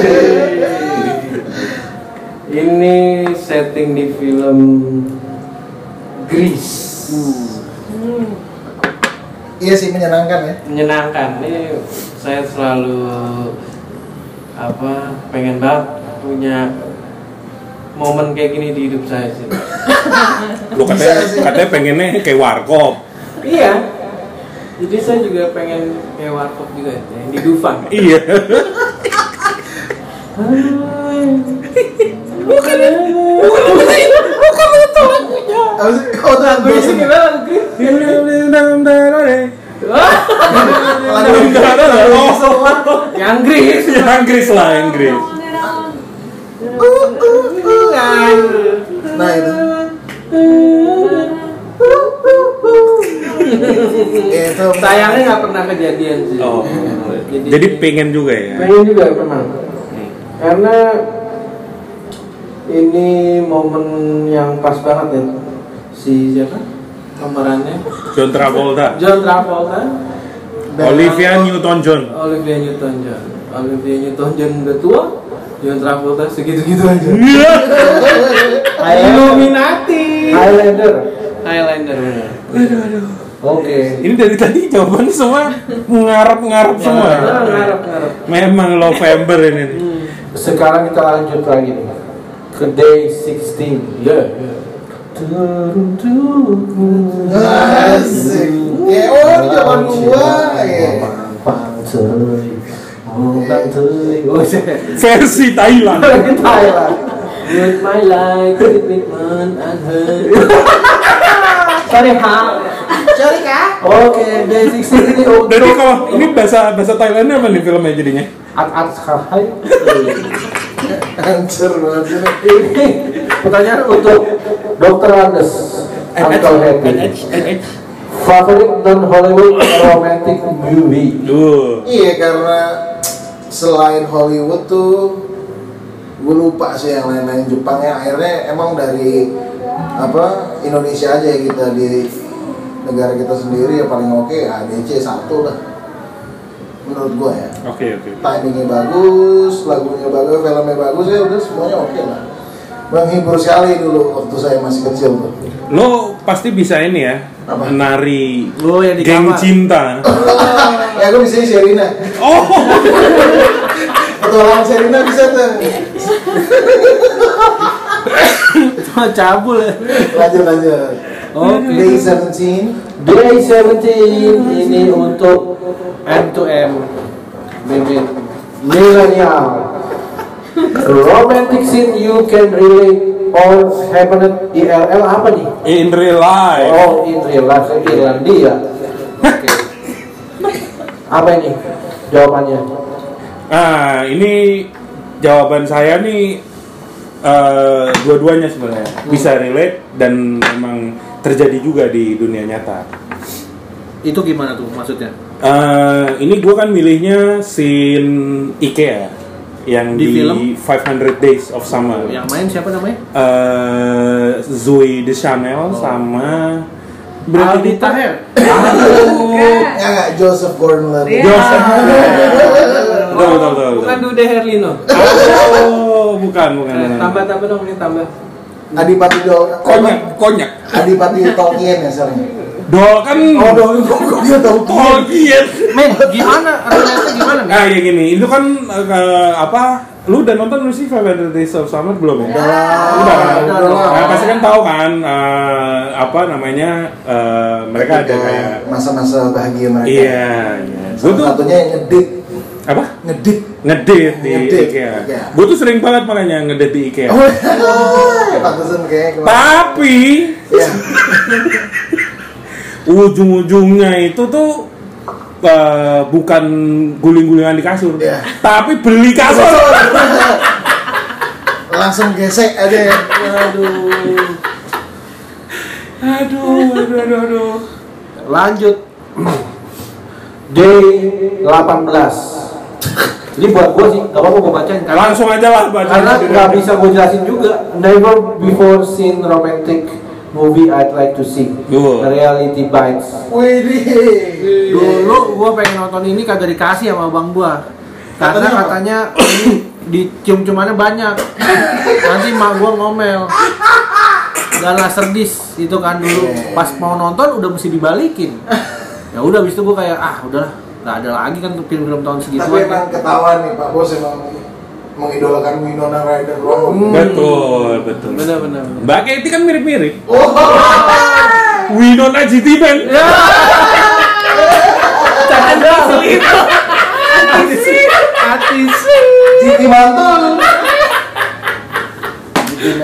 Speaker 7: Ini setting di film Grease.
Speaker 8: Hmm.
Speaker 6: Iya sih menyenangkan ya.
Speaker 7: Menyenangkan. Ini saya selalu apa pengen banget punya momen kayak gini di hidup saya sih.
Speaker 8: Lu katanya, katanya pengennya kayak warkop.
Speaker 7: iya. Jadi saya juga pengen kayak warkop juga ya, yang di Dufan.
Speaker 8: Iya.
Speaker 7: Bukan bukan bukan itu lagunya.
Speaker 6: Apa sih? Oh tuh lagu
Speaker 7: Grease
Speaker 6: ini.
Speaker 7: gimana? Grease.
Speaker 6: Lagu ini.
Speaker 8: Oh,
Speaker 7: Yang Grease.
Speaker 3: iya,
Speaker 8: Inggris lah Inggris.
Speaker 6: Nah itu. Ya, itu
Speaker 7: Sayangnya nggak pernah kejadian sih.
Speaker 8: Oh. Jadi pengen juga ya.
Speaker 9: Pengen juga pernah. Karena ini momen yang pas banget ya. Si siapa? Pemerannya
Speaker 8: John Travolta,
Speaker 9: John Travolta,
Speaker 8: Olivia Newton-John.
Speaker 9: Olivia Newton-John. Olivia Newton-John udah tua, John Travolta segitu-gitu aja.
Speaker 4: Iya.
Speaker 7: Illuminati.
Speaker 9: Highlander.
Speaker 7: Highlander
Speaker 4: Iya.
Speaker 7: bener.
Speaker 9: Oke.
Speaker 8: Ini dari tadi jawaban semua ngarep-ngarep semua.
Speaker 3: Iya.
Speaker 7: Ngarep ngarep.
Speaker 8: Memang November ini.
Speaker 10: Sekarang kita lanjut lagi nih. Ke day 16. Yeah.
Speaker 6: Asik. Ya oh ini zaman gua. Ya.
Speaker 8: Versi Thailand.
Speaker 9: With my life, with me, man, and her. Sorry, ha.
Speaker 6: Cari kah?
Speaker 9: Oke, day 16 ini untuk
Speaker 8: Dari kalau ini bahasa bahasa Thailandnya apa nih filmnya jadinya?
Speaker 10: At-at sahai.
Speaker 6: Hancur banget ini.
Speaker 10: Ini pertanyaan untuk Dr. Andes. Uncle Happy. Favorite non Hollywood romantic movie.
Speaker 8: Duh.
Speaker 6: Iya karena selain Hollywood tuh gue lupa sih yang lain-lain Jepangnya akhirnya emang dari apa Indonesia aja ya kita di negara kita sendiri ya paling oke ADC satu lah menurut gue ya
Speaker 8: Oke oke.
Speaker 6: timingnya bagus lagunya bagus filmnya bagus ya udah semuanya oke lah menghibur sekali dulu waktu saya masih kecil tuh
Speaker 8: Lo pasti bisa ini ya.
Speaker 6: Apa?
Speaker 8: Nari
Speaker 4: Oh, yang di
Speaker 8: geng
Speaker 4: kamar. <laughs>
Speaker 8: cinta.
Speaker 6: ya gue bisa Sherina <laughs>
Speaker 8: Oh.
Speaker 6: petualangan Sherina bisa tuh
Speaker 4: Cuma cabul ya.
Speaker 6: lanjut lanjut
Speaker 4: Oke.
Speaker 6: Day 17
Speaker 9: Day 17 ini untuk
Speaker 4: M to M.
Speaker 9: Mimin Millennial Romantic scene you can relate or happened IRL Eh, apa nih?
Speaker 8: In real life.
Speaker 9: Oh, in real life saya Irlandia. Oke. Apa ini jawabannya?
Speaker 8: Nah ini jawaban saya nih eh, dua-duanya sebenarnya bisa relate dan memang terjadi juga di dunia nyata.
Speaker 4: Itu gimana tuh maksudnya?
Speaker 8: Eh, ini gue kan milihnya scene IKEA yang
Speaker 4: Di
Speaker 8: di,
Speaker 4: film?
Speaker 8: 500 Days of Summer.
Speaker 4: Yang main siapa namanya?
Speaker 8: Eh, Zoe Deschanel sama
Speaker 4: Aldi
Speaker 9: kan?
Speaker 8: Brad
Speaker 4: Taher.
Speaker 5: Bukan.
Speaker 6: Ya nggak, Joseph Gordon Levitt.
Speaker 5: Iya.
Speaker 8: Joseph. Betul, betul, betul,
Speaker 7: Bukan
Speaker 8: betul.
Speaker 7: Dude Herlino.
Speaker 8: Oh, bukan,
Speaker 4: Iya.
Speaker 8: bukan.
Speaker 7: Eh,
Speaker 8: bukan.
Speaker 7: Tambah tambah dong ini tambah.
Speaker 6: Adipati Dol.
Speaker 8: Konyak, konyak.
Speaker 6: Adipati Tolkien ya sorry.
Speaker 8: Dol kan.
Speaker 6: Oh, Dol kok dia Tolkien.
Speaker 8: Tolkien.
Speaker 4: Men, gimana? Relate gimana? men?
Speaker 8: Nah, ya gini, itu kan eh, ke- apa? Lu udah nonton belum sih Five Hundred Days of Summer belum ya? Udah
Speaker 4: Ah,
Speaker 8: kan?
Speaker 6: Udah lah.
Speaker 8: Nah, pasti kan tahu kan eh, apa namanya eh, mereka ada
Speaker 6: Ketika
Speaker 8: kayak
Speaker 6: masa-masa bahagia mereka.
Speaker 8: iya, iya.
Speaker 6: Salah
Speaker 8: Gue tuh
Speaker 6: satunya yang ngedit,
Speaker 8: apa?
Speaker 6: ngedit.
Speaker 8: Ngedit di
Speaker 6: Ngedit,
Speaker 8: IKEA.
Speaker 6: iya.
Speaker 8: Gue tuh sering banget makanya ngedit di IKEA.
Speaker 6: <laughs> Oh, pantesan kayak
Speaker 8: Tapi
Speaker 6: Ya,
Speaker 8: ujung-ujungnya itu tuh eh, bukan guling-gulingan di kasur,
Speaker 6: Iya.
Speaker 8: tapi beli kasur.
Speaker 6: langsung gesek aja ya.
Speaker 8: aduh, aduh, aduh, aduh.
Speaker 4: Lanjut.
Speaker 9: Day 18 Jadi buat gue sih, gak apa-apa gue bacain karena
Speaker 8: Langsung aja lah baca.
Speaker 9: karena nggak bisa gue jelasin juga. Never before seen romantic movie I'd like to see.
Speaker 8: Yo.
Speaker 9: Reality bites.
Speaker 6: Wih,
Speaker 4: Dulu gua pengen nonton ini kagak dikasih sama abang gua. Karena
Speaker 6: Katanya apa?
Speaker 4: katanya ini dicium-ciumannya banyak. Nanti mak gua ngomel. Gala serdis itu kan dulu pas mau nonton udah mesti dibalikin. Ya udah habis itu gua kayak ah udahlah, nggak ada lagi kan tuh film-film tahun
Speaker 6: Tapi
Speaker 4: segituan. kan."
Speaker 6: emang ketahuan nih Pak Bos emang mengidolakan Winona Ryder banget.
Speaker 8: Betul, betul.
Speaker 4: Bener-bener.
Speaker 8: Mbak Katy kan mirip-mirip.
Speaker 6: Oh,
Speaker 8: Winona GT Band.
Speaker 4: Ya. Atis.
Speaker 6: Siti Mantul.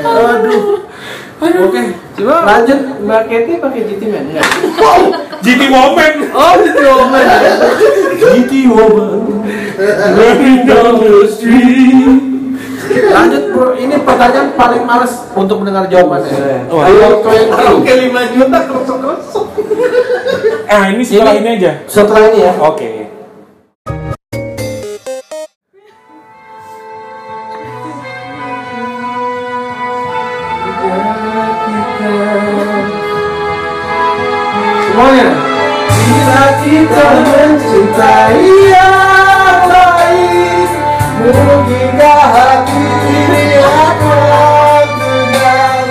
Speaker 4: Aduh. Oke, coba
Speaker 7: Lanjut, Mbak Katy pakai GT Man ya?
Speaker 8: GT Woman.
Speaker 4: Oh,
Speaker 7: iya.
Speaker 4: gitu.
Speaker 9: GT woman, living down the street.
Speaker 4: Lanjut, Bro.
Speaker 9: Ini pertanyaan paling males untuk mendengar jawabannya.
Speaker 8: Wah.
Speaker 9: Ayo, twenty.
Speaker 6: Oke 5 juta kosong-kosong.
Speaker 8: Ah, ini setelah
Speaker 9: Ini-
Speaker 8: ini aja.
Speaker 9: Setelah ini ya,
Speaker 8: Oke.
Speaker 9: semuanya. Bila kita mencintai yang lain, mungkinkah hati ini akan tegang?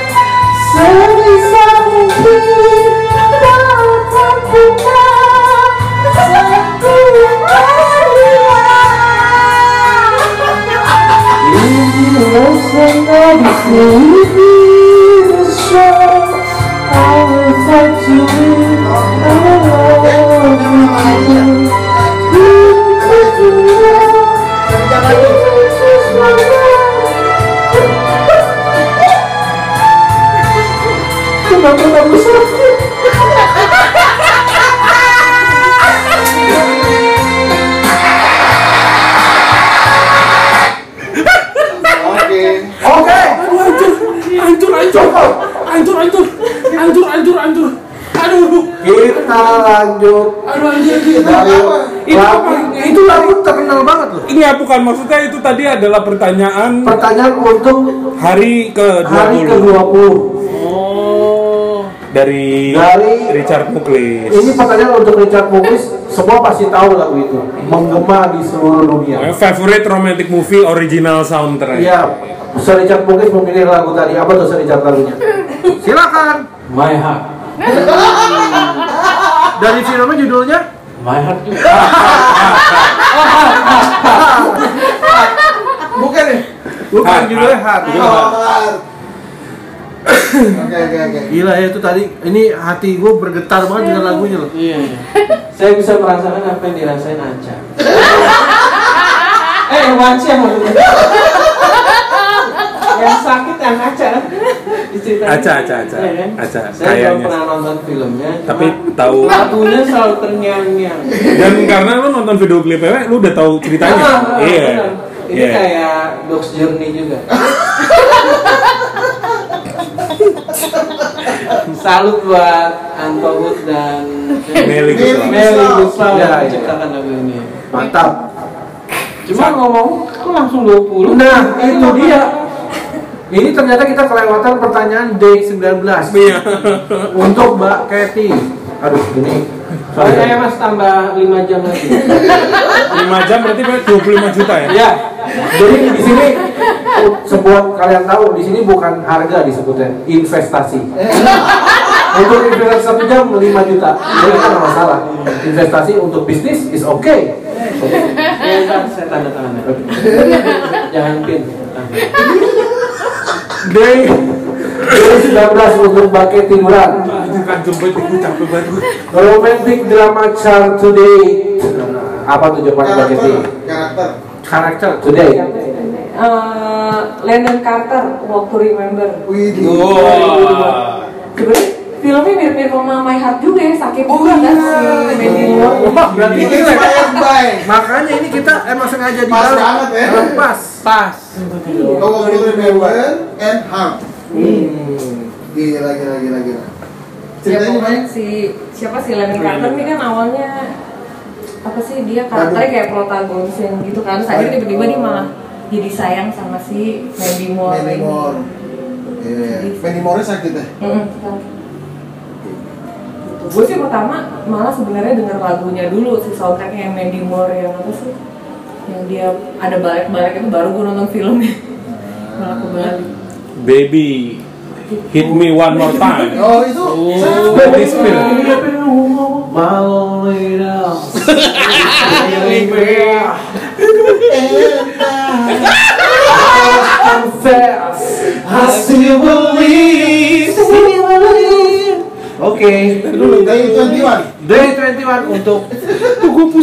Speaker 9: Sebisa mungkin datang kita satu
Speaker 6: Oke.
Speaker 9: Oke,
Speaker 4: Hancur, hancur. Hancur, hancur. Hancur, hancur, hancur. Aduh, aduh.
Speaker 9: kita lanjut.
Speaker 4: Aduh, anjir, anjir. Itu apa?
Speaker 9: Lagu-
Speaker 4: Itu lagu terkenal banget loh.
Speaker 8: Ini bukan maksudnya itu tadi adalah pertanyaan
Speaker 9: Pertanyaan untuk hari
Speaker 8: hari ke-20
Speaker 9: ke-20.
Speaker 8: dari
Speaker 9: Dari-
Speaker 8: Richard
Speaker 9: Ini
Speaker 8: Muklis.
Speaker 9: pertanyaan untuk Richard Mugis, semua pasti tahu lagu itu. Menggema di seluruh dunia.
Speaker 8: Favorite romantic movie original soundtrack.
Speaker 9: Iya, Sir Richard Mugis memilih lagu tadi. Apa tuh Sir Richard lagunya?
Speaker 4: Silakan.
Speaker 7: My heart,
Speaker 4: Dari filmnya judulnya
Speaker 7: my heart juga.
Speaker 6: Bukan nih.
Speaker 4: bukan
Speaker 8: Heart,
Speaker 4: judulnya Heart.
Speaker 6: Kelar. Oke oke oke.
Speaker 4: Gila ya itu tadi ini hati gue bergetar banget dengan lagunya loh.
Speaker 7: Iya, iya. Saya bisa merasakan apa yang dirasain Anca. eh, yang Wanci yang maksudnya. yang sakit yang Aca. Diceritain.
Speaker 8: Aca, Aca, Aca.
Speaker 7: Iya kan?
Speaker 8: Aca,
Speaker 7: Saya belum
Speaker 8: kayaknya.
Speaker 7: pernah nonton filmnya. cuma
Speaker 8: Tapi tahu
Speaker 7: lagunya selalu terngiang-ngiang.
Speaker 8: dan karena lu nonton video klipnya lu udah tahu ceritanya.
Speaker 7: Ah, ah,
Speaker 8: Iya.
Speaker 7: benar. Ini
Speaker 8: Iya.
Speaker 7: kayak Dogs Journey
Speaker 8: <laughs>
Speaker 7: juga. Salut buat Anto Wood dan
Speaker 8: Melly Guslau.
Speaker 7: Meli Guslau
Speaker 9: Ya,
Speaker 7: yang
Speaker 9: iya.
Speaker 7: menciptakan lagu ini.
Speaker 9: Mantap.
Speaker 7: Cuma ngomong, kok langsung 20?
Speaker 9: Nah,
Speaker 7: Ini
Speaker 9: itu
Speaker 7: apa?
Speaker 9: dia. Ini ternyata kita kelewatan pertanyaan D19
Speaker 8: Iya.
Speaker 9: untuk Mbak Kathy. Aduh, ini.
Speaker 7: Soalnya ya
Speaker 9: Sorry.
Speaker 7: mas tambah 5 jam lagi.
Speaker 4: Eh,
Speaker 8: 5 jam berarti berarti 25 juta ya.
Speaker 7: Iya.
Speaker 9: Ya, jadi di sini sebuah kalian tahu di sini bukan harga disebutnya, investasi. Untuk investasi satu jam 5 juta, jadi itu nggak masalah. Investasi untuk bisnis is okay.
Speaker 7: ya ntar saya tanda tangan ya. Jangan pin.
Speaker 9: Day, day 19 untuk pakai tiduran.
Speaker 8: Anjir kan jemput gue capek banget. gue.
Speaker 9: Romantic drama chart today. Apa tuh jawaban Mbak
Speaker 6: Karakter.
Speaker 9: Kathy?
Speaker 6: Karakter.
Speaker 9: Karakter today.
Speaker 5: Eh, Landon Carter, Walk to Remember.
Speaker 6: Wih.
Speaker 8: Wah.
Speaker 5: Sebenarnya filmnya mirip-mirip sama My Heart juga ya, sakit
Speaker 6: Oh,
Speaker 5: juga
Speaker 6: iya.
Speaker 5: kan si Mandy Moore.
Speaker 4: Wah, berarti ini
Speaker 6: Inspired by.
Speaker 4: makanya ini kita emang sengaja di
Speaker 6: Pas banget ya.
Speaker 4: Pas. Pas.
Speaker 6: Kau to remember and harm. Hmm. Gila gila gila gila.
Speaker 5: Ya
Speaker 6: Ceritanya
Speaker 5: pokoknya
Speaker 6: banyak.
Speaker 5: si siapa si Landon Carter ini kan awalnya apa sih dia karakternya kayak protagonisin gitu kan terus akhirnya tiba-tiba dia malah jadi sayang sama si Mandy Moore
Speaker 6: Mandy
Speaker 5: ini.
Speaker 6: Moore. Iya. Mandy Moore sakit deh.
Speaker 5: Mm-mm. Gue sih pertama malah sebenarnya denger lagunya dulu si soundtracknya yang Mandy Moore yang apa sih yang dia ada balik-balik itu baru gue nonton
Speaker 3: <laughs>
Speaker 5: filmnya malah kembali
Speaker 3: Baby Hit me one more time
Speaker 6: Oh itu. saya-
Speaker 3: Baby spill
Speaker 7: Oke,
Speaker 6: Day 21.
Speaker 7: Day 21 untuk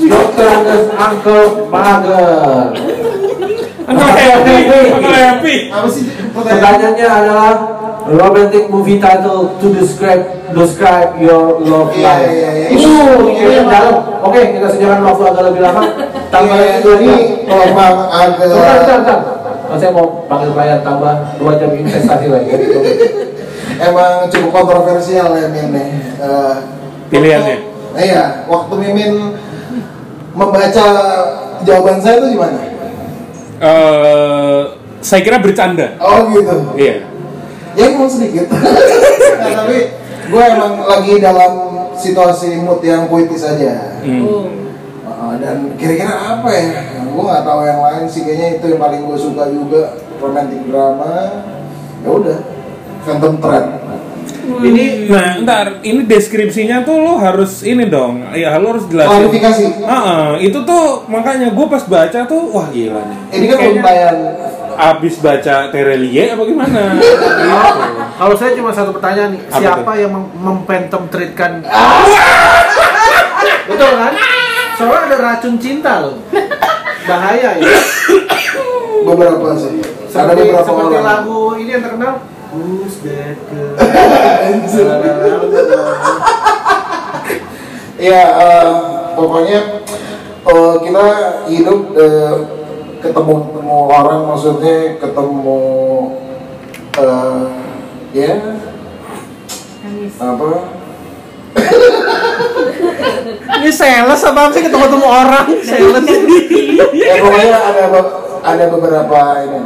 Speaker 9: Dokter Nurse Uncle Mager.
Speaker 3: Aku happy Aku happy
Speaker 6: Apa sih pertanyaan?
Speaker 9: Pertanyaannya adalah romantic movie title to describe describe your love
Speaker 6: Iya,
Speaker 9: life.
Speaker 6: iya, iya.
Speaker 9: Uh,
Speaker 6: Iya,
Speaker 9: ini
Speaker 6: iya.
Speaker 9: dalam. Oke, kita sediakan waktu agak lebih lama. Tambah
Speaker 6: Iya,
Speaker 9: itu lagi.
Speaker 6: ini eh, memang agak
Speaker 9: Bentar, bentar, bentar. Oh, saya mau panggil klien tambah 2 jam investasi lagi.
Speaker 6: emang cukup kontroversial ya Mimin nih. Eh,
Speaker 3: Pilihannya.
Speaker 6: waktu- Iya, waktu Mimin membaca jawaban saya itu gimana?
Speaker 3: Eh, Saya kira bercanda
Speaker 6: Oh gitu.
Speaker 3: Iya
Speaker 6: ya emang
Speaker 7: <laughs>
Speaker 6: sedikit Nah, tapi gue emang lagi dalam situasi mood yang puitis aja
Speaker 3: Hmm.
Speaker 6: Uh, dan kira-kira apa ya gue nggak tahu yang lain sih kayaknya itu yang paling gue suka juga romantic drama ya udah Phantom Thread
Speaker 7: Hmm.
Speaker 3: Ini nah, ntar ini deskripsinya tuh lo harus ini dong. Ya lo harus jelasin.
Speaker 6: klarifikasi
Speaker 3: Ah, ah, itu tuh makanya gue pas baca tuh wah gila nih.
Speaker 6: ini kan belum tayang
Speaker 3: abis baca Terelie apa
Speaker 7: <laughs>
Speaker 3: gimana?
Speaker 7: kalau saya cuma satu pertanyaan nih,
Speaker 3: Apa
Speaker 7: siapa
Speaker 3: tuh?
Speaker 7: yang mem- mempentom treatkan? Betul kan? Soalnya ada racun cinta loh. Bahaya ya.
Speaker 6: beberapa sih ada
Speaker 7: Seperti,
Speaker 6: beberapa
Speaker 7: seperti
Speaker 6: orang
Speaker 7: lagu ini yang terkenal Who's that girl?
Speaker 6: ya eh, pokoknya eh, kita hidup eh, ketemu ketemu orang maksudnya ketemu eh, ya apa
Speaker 7: <laughs> Ini sales apa apa sih ketemu-temu orang? Sales.
Speaker 6: ya pokoknya ada be- ada beberapa ini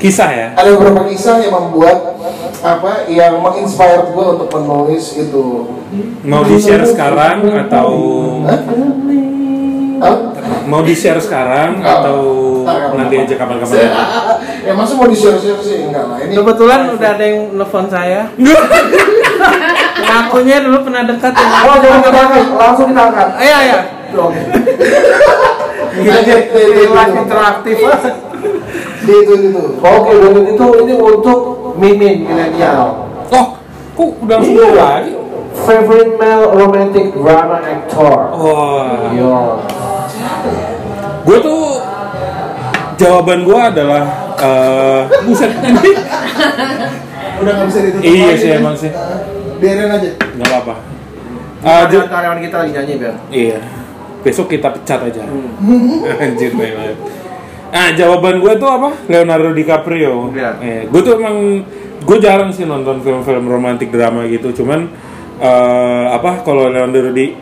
Speaker 3: Kisah ya.
Speaker 6: ada beberapa kisah yang membuat apa yang menginspire gue untuk menulis itu
Speaker 3: Mau di share sekarang atau
Speaker 6: Hah? Hah?
Speaker 3: mau di share sekarang
Speaker 6: Enggak.
Speaker 3: atau
Speaker 6: Enggak, enggak
Speaker 3: nanti
Speaker 6: apa-apa.
Speaker 3: aja kapan-kapan.
Speaker 6: ya masa mau di share share sih enggak lah ini
Speaker 7: Kebetulan udah ada yang nelfon <laughs> saya. Ngakunya dulu pernah dekat <laughs> ya.
Speaker 9: Oh, jangan ditangkap, langsung ditangkap.
Speaker 7: Iya ya.
Speaker 9: Oke.
Speaker 6: Lanjut, itu, itu,
Speaker 7: Relax
Speaker 6: itu.
Speaker 7: interaktif.
Speaker 4: Iya.
Speaker 6: Di itu itu
Speaker 9: Oke, dan itu ini untuk mimin milenial.
Speaker 3: Oh, kok udah semua lagi?
Speaker 9: Favorite male romantic drama actor.
Speaker 3: Wah,
Speaker 9: Yo.
Speaker 3: gue Oh. tuh jawaban gue adalah eh buset <laughs>
Speaker 6: udah nggak bisa ditutup
Speaker 3: Iya
Speaker 6: lagi.
Speaker 3: sih, emang sih.
Speaker 6: Nah, biarin aja
Speaker 3: nggak apa-apa. Eh,
Speaker 7: Ada
Speaker 3: ja-
Speaker 7: karyawan kita lagi nyanyi biar.
Speaker 3: Iya. Besok kita pecat aja. <laughs> Anjir memang. Ah, jawaban gue tuh apa? Leonardo DiCaprio.
Speaker 7: Iya.
Speaker 3: gue tuh emang gue jarang sih nonton film-film romantik drama gitu. Cuman eh, apa kalau Leonardo di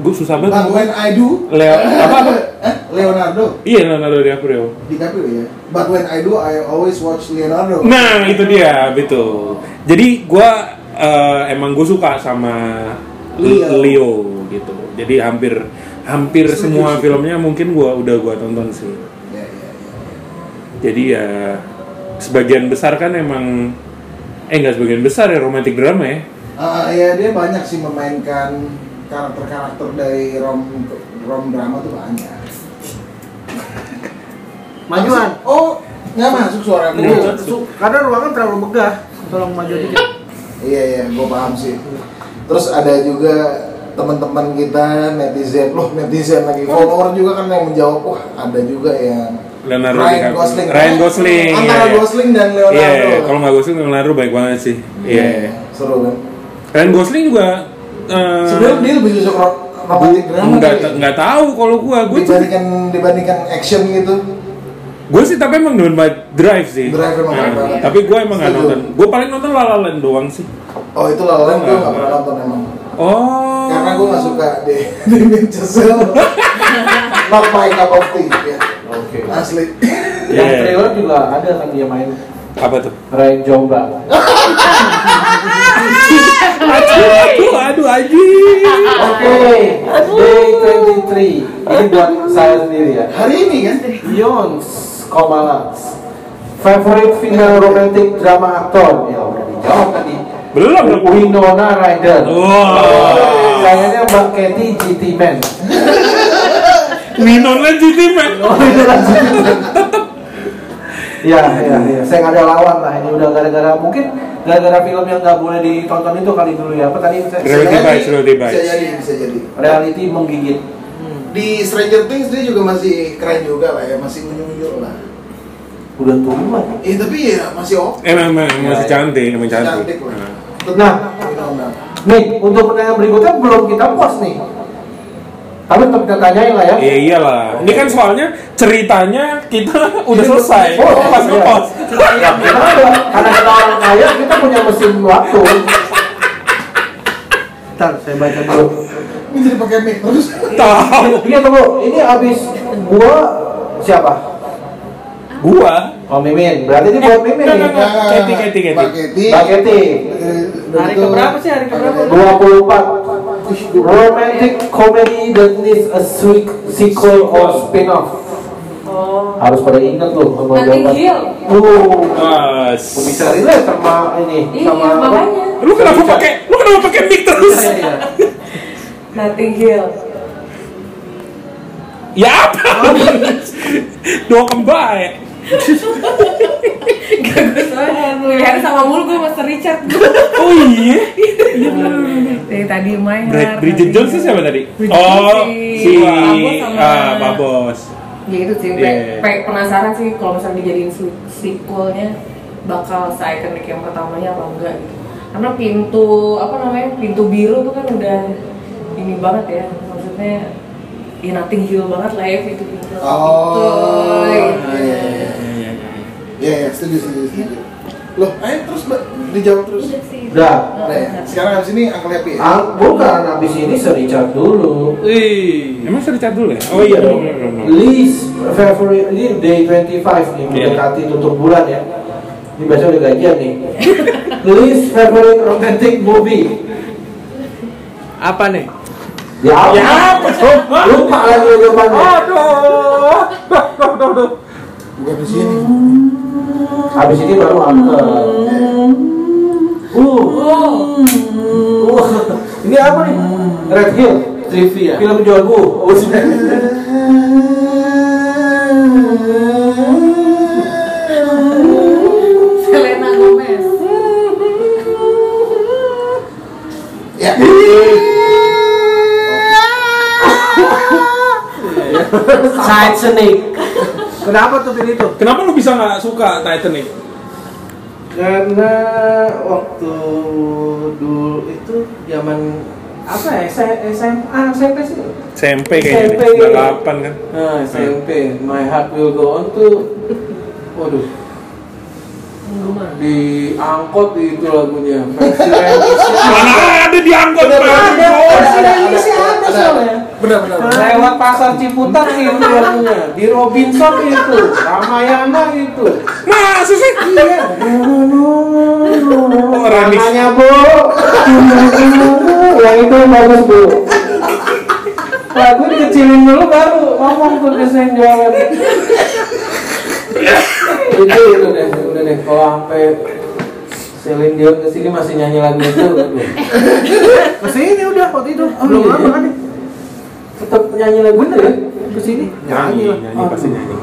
Speaker 3: gue susah banget.
Speaker 6: But when I do
Speaker 3: Leo apa apa?
Speaker 6: Eh, Leonardo
Speaker 3: Iya Leonardo DiCaprio.
Speaker 6: DiCaprio ya. But when I do, I always watch Leonardo.
Speaker 3: Nah itu dia betul. Jadi gue emang gue suka sama Leo.
Speaker 6: Leo.
Speaker 3: Leo gitu. Jadi hampir hampir semua filmnya mungkin gue udah gue tonton sih.
Speaker 6: Ya, ya, ya.
Speaker 3: jadi ya sebagian besar kan emang eh nggak sebagian besar ya romantic drama ya
Speaker 6: Ah, ya dia banyak sih memainkan karakter-karakter dari rom rom drama tuh banyak.
Speaker 7: Majuan.
Speaker 6: Oh, nggak masuk suara gue.
Speaker 7: Iya, su- Karena ruangan terlalu megah. Tolong maju dikit.
Speaker 6: Iya iya, gue paham sih. Terus ada juga teman-teman kita netizen loh netizen lagi
Speaker 3: Oh.
Speaker 6: follower juga kan yang menjawab wah ada juga yang
Speaker 3: Leonardo
Speaker 6: Ryan
Speaker 3: DiCaprio.
Speaker 6: Gosling
Speaker 3: Ryan Gosling,
Speaker 6: antara
Speaker 3: iya, iya.
Speaker 6: Gosling dan
Speaker 3: iya
Speaker 6: Leonardo
Speaker 3: iya. kalau nggak Gosling Leonardo baik banget sih iya iya.
Speaker 6: seru kan
Speaker 3: Ryan Gosling juga eh,
Speaker 6: sebenarnya dia lebih cocok ro- romantic drama
Speaker 3: nggak
Speaker 6: kali ya.
Speaker 3: nggak tahu kalau gua gua tuh-
Speaker 6: dibandingkan dibandingkan action gitu
Speaker 3: gua sih tapi emang demen banget drive sih
Speaker 6: Drive emang
Speaker 3: Nah,
Speaker 6: keren banget.
Speaker 3: tapi gua emang nggak
Speaker 6: Setuju.
Speaker 3: nonton gua paling nonton La La Land doang sih
Speaker 6: oh itu lalu gue nggak pernah nonton emang
Speaker 3: oh
Speaker 6: karena karena gue nggak suka <laughs> deh Damien Chazelle not my cup of tea ya.
Speaker 9: Oke.
Speaker 6: asli
Speaker 9: Yang
Speaker 3: Iya.
Speaker 9: trailer juga ada kan dia main
Speaker 3: Apa tuh?
Speaker 9: Ryan Jombang.
Speaker 3: Aduh, aduh, aduh, anjing.
Speaker 9: Oke, day 23. Ini buat saya sendiri ya.
Speaker 6: hari ini kan
Speaker 9: Beyonce, Komala. Favorite female romantic drama aktor. Ya udah dijawab tadi.
Speaker 3: Belum dong.
Speaker 9: Winona Ryder.
Speaker 3: Wow.
Speaker 9: Sayangnya Mbak Katy GT Man.
Speaker 3: Minon lagi nih, Pak.
Speaker 9: Oh, itu lanjut. ya, ya, ya. Saya nggak ada lawan lah. Ini udah gara-gara mungkin gara-gara film yang nggak boleh ditonton itu kali dulu ya. Apa tadi? Saya-
Speaker 3: Gravity
Speaker 6: Bisa
Speaker 3: Bites,
Speaker 6: jadi,
Speaker 3: Gravity
Speaker 6: bisa
Speaker 3: Bites.
Speaker 6: jadi bisa jadi
Speaker 9: Reality menggigit.
Speaker 6: di Stranger Things dia juga masih keren juga lah ya masih unyu-unyu lah
Speaker 9: Udah tua.
Speaker 6: eh tapi ya masih oke
Speaker 3: Emang, emang, emang masih
Speaker 9: Ya, ya.
Speaker 3: cantik, emang cantik.
Speaker 6: cantik lah
Speaker 9: Nah.
Speaker 6: Tenang,
Speaker 9: Nih, untuk pertanyaan berikutnya belum kita post nih. Tapi tetap kita tanyain lah ya.
Speaker 3: Iya iyalah. Ini kan soalnya ceritanya kita <laughs> udah selesai.
Speaker 9: Oh,
Speaker 3: pas
Speaker 9: iya.
Speaker 3: ngepost.
Speaker 9: Kenapa? Karena kita orang kaya, kita punya mesin waktu.
Speaker 4: Bentar, saya baca dulu.
Speaker 6: tenang. ini jadi pakai mic terus
Speaker 3: Tahu.
Speaker 9: Ini Iya, tunggu, ini abis gua siapa?
Speaker 3: Gua.
Speaker 9: Oh Mimin, berarti ini buat Mimin nih.
Speaker 6: Nah,
Speaker 3: Enggak, enggak. Keti, keti, keti.
Speaker 6: Mbak Keti.
Speaker 9: Mbak Keti,
Speaker 6: Hari keberapa
Speaker 8: sih? Hari keberapa?
Speaker 9: 24 Romantic comedy that needs a sweet sequel or spin-off
Speaker 5: Oh.
Speaker 9: Harus pada ingat loh sama
Speaker 5: Nanti
Speaker 9: jawaban.
Speaker 5: Gil.
Speaker 9: Uh,
Speaker 3: Ah,
Speaker 9: bisa relate sama ini
Speaker 5: Iya,
Speaker 9: sama
Speaker 5: makanya.
Speaker 3: Lu kenapa pakai? Lu kenapa pakai mic terus?
Speaker 5: Nothing
Speaker 3: <laughs>
Speaker 5: Hill.
Speaker 3: Ya <laughs> apa? Dua kembar.
Speaker 5: Soalnya pilihan sama mulu gue Master Richard.
Speaker 3: <laughs> Oh
Speaker 5: <laughs>
Speaker 3: iya.
Speaker 5: Dari tadi main.
Speaker 3: Brid- Bridget Jones itu siapa tadi?
Speaker 5: Bridget
Speaker 3: Oh,
Speaker 5: Jones
Speaker 3: si
Speaker 5: Babos sama-
Speaker 3: ah, Babos.
Speaker 5: Ya itu sih,
Speaker 3: Iya.
Speaker 5: pe- pe- penasaran sih kalau misalnya dijadiin se- sequelnya bakal se-iconic yang pertamanya apa enggak gitu. Karena pintu apa namanya pintu biru tuh kan udah ini banget ya, maksudnya ya nothing hill banget lah ya pintu pintu. gitu.
Speaker 6: Oh, iya, iya, iya.
Speaker 3: Iya.
Speaker 6: Iya, iya, setuju, setuju, setuju. Loh, ayo terus Mbak, dijawab terus.
Speaker 9: Udah
Speaker 6: Nah, ya. sekarang abis ini Uncle Happy ya?
Speaker 9: Ah, bukan, habis ini Sir Richard dulu
Speaker 4: Wih.
Speaker 3: Emang sudah dicat dulu ya? Oh iya dong.
Speaker 9: Least February, ini day 25 nih,
Speaker 3: Iya.
Speaker 9: mendekati tutup bulan ya Ini biasanya udah gajian nih Least favorite romantic movie
Speaker 4: Apa nih?
Speaker 9: Ya, apa? <laughs> Lupa lagi jawabannya
Speaker 6: Bukan di sini.
Speaker 9: Habis ini baru angker. Uh.
Speaker 3: Oh.
Speaker 9: Uh. <laughs> Ini apa nih? Red Hill.
Speaker 4: Trivia.
Speaker 9: Film Jorgu. Oh, sudah.
Speaker 5: Selena Gomez.
Speaker 6: Ya.
Speaker 8: Titanic
Speaker 4: Kenapa tuh pilih itu?
Speaker 3: Kenapa lu bisa nggak suka Titanic?
Speaker 4: Karena waktu dulu itu zaman apa ya? S- SMA, SMP sih.
Speaker 3: SMP kayaknya.
Speaker 4: SMP.
Speaker 3: deh. Delapan kan.
Speaker 4: Nah, SMP, My Heart Will Go On tuh waduh diangkut itu lagunya versi
Speaker 3: Mana ada di angkot
Speaker 4: Bener,
Speaker 3: Pak?
Speaker 4: bener.
Speaker 3: Bos.
Speaker 4: Ada, ada, ada soalnya.
Speaker 6: Benar, benar. benar.
Speaker 4: lewat pasar Ciputat itu lagunya di Robinson itu Ramayana itu
Speaker 3: Masa sih? Oh, remix.
Speaker 9: Namanya Bu. Yang itu bagus Bu.
Speaker 4: lagu dikecilin dulu baru ngomong tuh desain jualan itu itu deh udah deh kalau sampai Celine Dion kesini masih nyanyi lagu itu aduh.
Speaker 7: Kesini udah waktu itu. Belum
Speaker 4: iya.
Speaker 7: lama kan? ya?
Speaker 4: tetap nyanyi lagu itu ya
Speaker 7: Kesini.
Speaker 3: Nyanyi, nyanyi pasti nyanyi.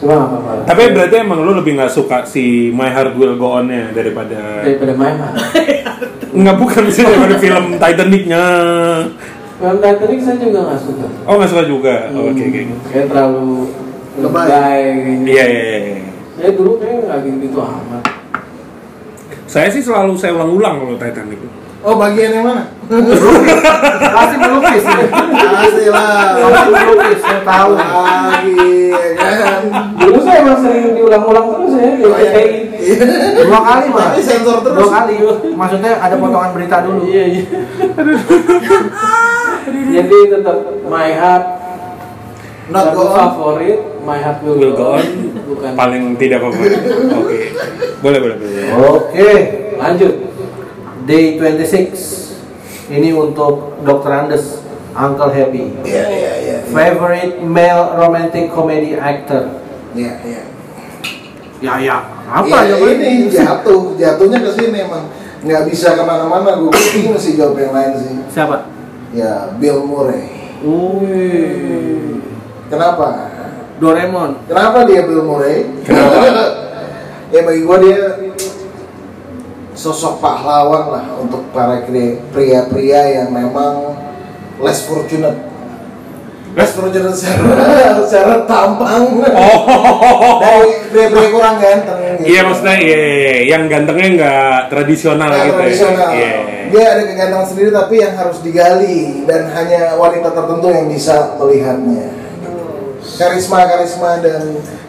Speaker 4: cuma nggak apa-apa lah.
Speaker 3: Tapi berarti emang lu lebih nggak suka si My Heart Will Go On-nya daripada
Speaker 4: daripada main
Speaker 3: nggak bukan sih daripada film Titanic-nya.
Speaker 4: film Titanic saya juga nggak suka
Speaker 3: Oh nggak suka juga.
Speaker 9: Hmm.
Speaker 3: Oh, Oke oke.
Speaker 4: kayak terlalu
Speaker 6: Lebay.
Speaker 4: lebay kayaknya.
Speaker 3: Iya iya iya.
Speaker 4: ya dulu kayaknya nggak gitu amat
Speaker 3: Saya sih selalu saya ulang-ulang kalau Titanic.
Speaker 6: Oh, bagian yang mana? <laughs>
Speaker 9: Pasti melukis. ya.
Speaker 6: Pasti lah.
Speaker 7: <laughs>
Speaker 9: Pasti melukis. Saya tahu.
Speaker 6: Lagi, ya kan?
Speaker 4: dulu saya emang sering diulang diulang-ulang terus ya
Speaker 6: Oh,
Speaker 4: di
Speaker 6: iya,
Speaker 4: OTTI.
Speaker 9: dua kali malah
Speaker 6: Tapi sensor terus.
Speaker 9: dua kali maksudnya ada potongan berita dulu
Speaker 4: Iya
Speaker 6: <laughs>
Speaker 4: iya. Jadi tetap my heart
Speaker 6: Not
Speaker 4: lagu
Speaker 6: go on.
Speaker 4: favorit my heart will, go
Speaker 8: Will go
Speaker 4: on.
Speaker 8: on.
Speaker 4: Bukan.
Speaker 8: Paling tidak favorit. Oke. Boleh, boleh, boleh.
Speaker 9: oke
Speaker 4: Lanjut.
Speaker 9: day 26 ini untuk Dr. Andes Uncle Happy
Speaker 6: Iya, iya, iya.
Speaker 9: favorite male romantic comedy actor
Speaker 6: Iya, iya.
Speaker 9: ya ya apa
Speaker 6: Iya,
Speaker 9: ya
Speaker 6: ini jatuh, jatuhnya ke sini emang nggak bisa kemana-mana gue bingung sih jawab yang lain sih
Speaker 9: siapa
Speaker 6: ya Bill Murray
Speaker 9: Wih.
Speaker 6: kenapa
Speaker 9: Doraemon
Speaker 6: kenapa dia Bill Murray <laughs> ya bagi gue dia sosok pahlawan lah untuk para kri- pria-pria yang memang less fortunate less fortunate secara, <laughs> secara tampang dari pria-pria kurang ganteng gitu.
Speaker 8: Oh. Iya maksudnya iya, iya, iya. yang gantengnya nggak tradisional
Speaker 6: Nah,
Speaker 8: gitu
Speaker 6: tradisional.
Speaker 8: ya. Iya.
Speaker 6: Dia ada kegantengan sendiri tapi yang harus digali dan hanya wanita tertentu yang bisa melihatnya. Karisma-karisma dan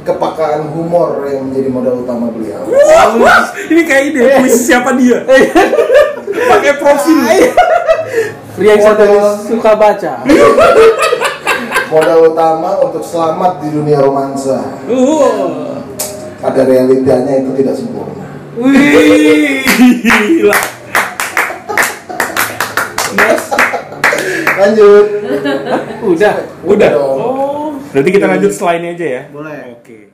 Speaker 6: kepakaan humor yang menjadi modal utama beliau.
Speaker 8: Ini kayak ide puisi siapa dia? Pakai profil.
Speaker 4: Pria yang
Speaker 6: Model.
Speaker 4: satu suka baca.
Speaker 6: Modal utama untuk selamat di dunia romansa.
Speaker 8: Uh.
Speaker 6: Pada realitanya itu tidak sempurna.
Speaker 8: Wih, gila.
Speaker 6: Lanjut.
Speaker 4: Udah.
Speaker 8: Udah.
Speaker 6: dong.
Speaker 8: Berarti kita lanjut selainnya aja ya.
Speaker 9: boleh
Speaker 8: Oke.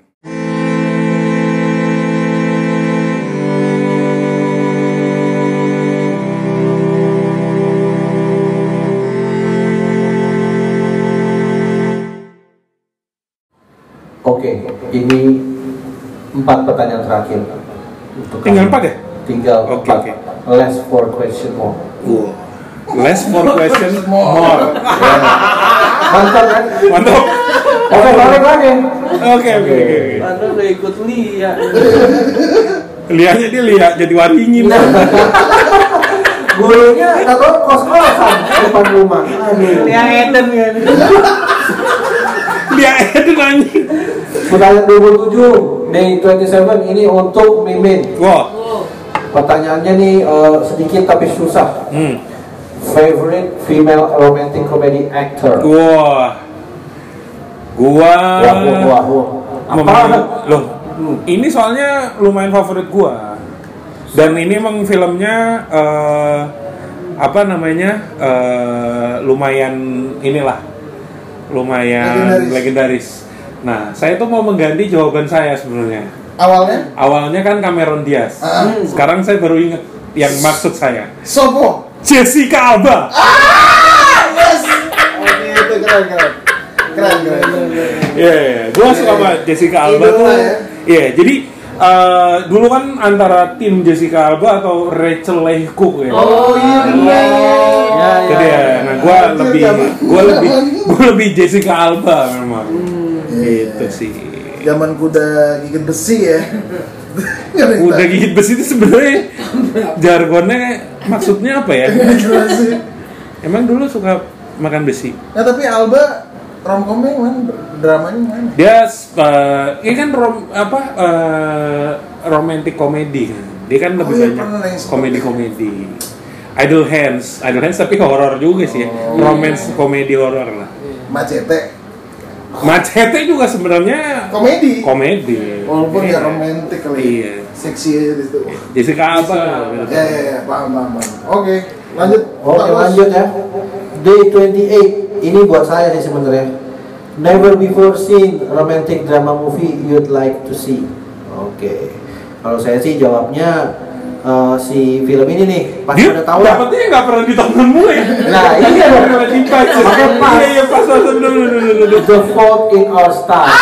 Speaker 9: Oke, ini empat pertanyaan terakhir. Untuk
Speaker 8: Tinggal
Speaker 9: kami.
Speaker 8: empat ya?
Speaker 9: Tinggal
Speaker 8: Oke,
Speaker 9: empat.
Speaker 8: oke.
Speaker 9: Last four question more.
Speaker 8: Less for question more.
Speaker 9: Mantap kan?
Speaker 8: Mantap.
Speaker 9: Oke, balik lagi.
Speaker 8: Oke oke oke. oke.
Speaker 4: Padahal udah ikut Lia.
Speaker 8: Lihatnya dia lihat jadi waringin.
Speaker 9: Gurunya atau kos-kosan depan rumah. Aduh.
Speaker 4: Lia Eden kan.
Speaker 8: Lihat <laughs> itu anjing.
Speaker 9: Pertanyaan 27, day 27 ini untuk Mimin.
Speaker 8: Wah.
Speaker 9: Pertanyaannya nih eh, sedikit tapi susah.
Speaker 8: Hmm.
Speaker 9: Favorite female romantic comedy actor?
Speaker 8: Wah. Gua.
Speaker 9: Wah, wah, wah, wah.
Speaker 8: Memang-
Speaker 9: Apa?
Speaker 8: Loh, ini soalnya lumayan favorit gua. Dan ini emang filmnya eh, apa namanya? eh, lumayan inilah. Lumayan legendaris.
Speaker 6: Legendaris.
Speaker 8: Nah, saya tuh mau mengganti jawaban saya sebenarnya.
Speaker 6: Awalnya
Speaker 8: Awalnya kan Cameron Diaz. Sekarang saya baru inget yang maksud saya.
Speaker 6: Sopo.
Speaker 8: Jessica Alba.
Speaker 6: Yes. Oke, Oh, iya, itu keren keren. Keren keren.
Speaker 8: Iya, iya. gua suka sama Jessica Alba
Speaker 6: Idola
Speaker 8: tuh.
Speaker 6: ya.
Speaker 8: Iya, jadi eh, dulu kan antara tim Jessica Alba atau Rachel Leigh Cook ya.
Speaker 5: Oh iya iya iya.
Speaker 8: Jadi ya, nah gua
Speaker 6: Anjir,
Speaker 8: lebih
Speaker 6: zaman-
Speaker 8: gua lebih
Speaker 6: zaman-
Speaker 8: gua lebih Jessica Alba memang. Gitu sih.
Speaker 6: Zaman kuda gigit besi ya.
Speaker 5: Iya.
Speaker 8: Udah gigit besi itu sebenarnya jargonnya maksudnya apa ya?
Speaker 6: Gila sih.
Speaker 8: Emang dulu suka makan besi.
Speaker 6: Nah tapi Alba romcomnya yang mana? Dramanya yang mana?
Speaker 8: Dia eh, ini kan rom apa eh, romantic comedy. Dia kan lebih
Speaker 6: Oh, iya,
Speaker 8: banyak
Speaker 6: pernah yang seperti
Speaker 8: komedi komedi. Idle Hands, Idle Hands tapi horor juga sih ya.
Speaker 6: Oh.
Speaker 8: Romance komedi horor lah.
Speaker 6: Macete.
Speaker 8: Macete juga sebenarnya
Speaker 6: Komedi.
Speaker 8: komedi.
Speaker 6: Walaupun
Speaker 8: Iya.
Speaker 6: ya romantis kali.
Speaker 8: Iya.
Speaker 6: Seksi aja di situ.
Speaker 8: Jessica Alba.
Speaker 6: Ya ya ya, paham paham. paham. Oke, lanjut.
Speaker 9: Oke
Speaker 6: Terus.
Speaker 9: lanjut ya Day 28 Ini buat saya sih sebenarnya Never before seen romantic drama movie you'd like to see Oke Kalau saya sih jawabnya eh, Si film ini nih Pasti
Speaker 8: Dia
Speaker 9: udah tahu lah
Speaker 8: dapetnya nggak pernah ditonton mulai.
Speaker 9: Nah iya dong Makanya pas.
Speaker 8: Iya iya ya? pas pas bener bener bener, bener.
Speaker 9: The Fault in Our Stars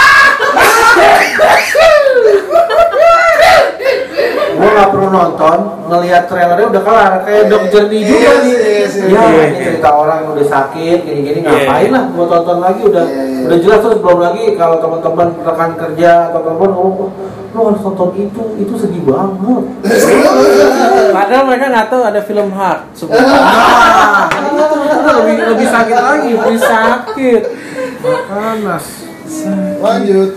Speaker 9: Gue gak perlu nonton, ngelihat trailernya udah kelar Kayak Dok
Speaker 6: Iya,
Speaker 9: Journey juga
Speaker 6: iya, iya,
Speaker 9: nih
Speaker 6: iya.
Speaker 9: Ya,
Speaker 8: Iya,
Speaker 9: ini
Speaker 8: iya.
Speaker 9: cerita orang yang udah sakit, gini-gini Ngapain
Speaker 8: Iya.
Speaker 9: lah gue tonton lagi udah
Speaker 6: Iya, iya.
Speaker 9: udah jelas terus belum lagi kalau teman-teman rekan kerja atau teman ngomong lo harus nonton itu, itu sedih banget
Speaker 4: Padahal mereka nggak tahu ada film Heart. Sebelum Ah.
Speaker 9: Nah, itu lebih, lebih sakit
Speaker 4: lagi,
Speaker 9: lagi
Speaker 4: beri sakit.
Speaker 9: Panas
Speaker 6: Lanjut.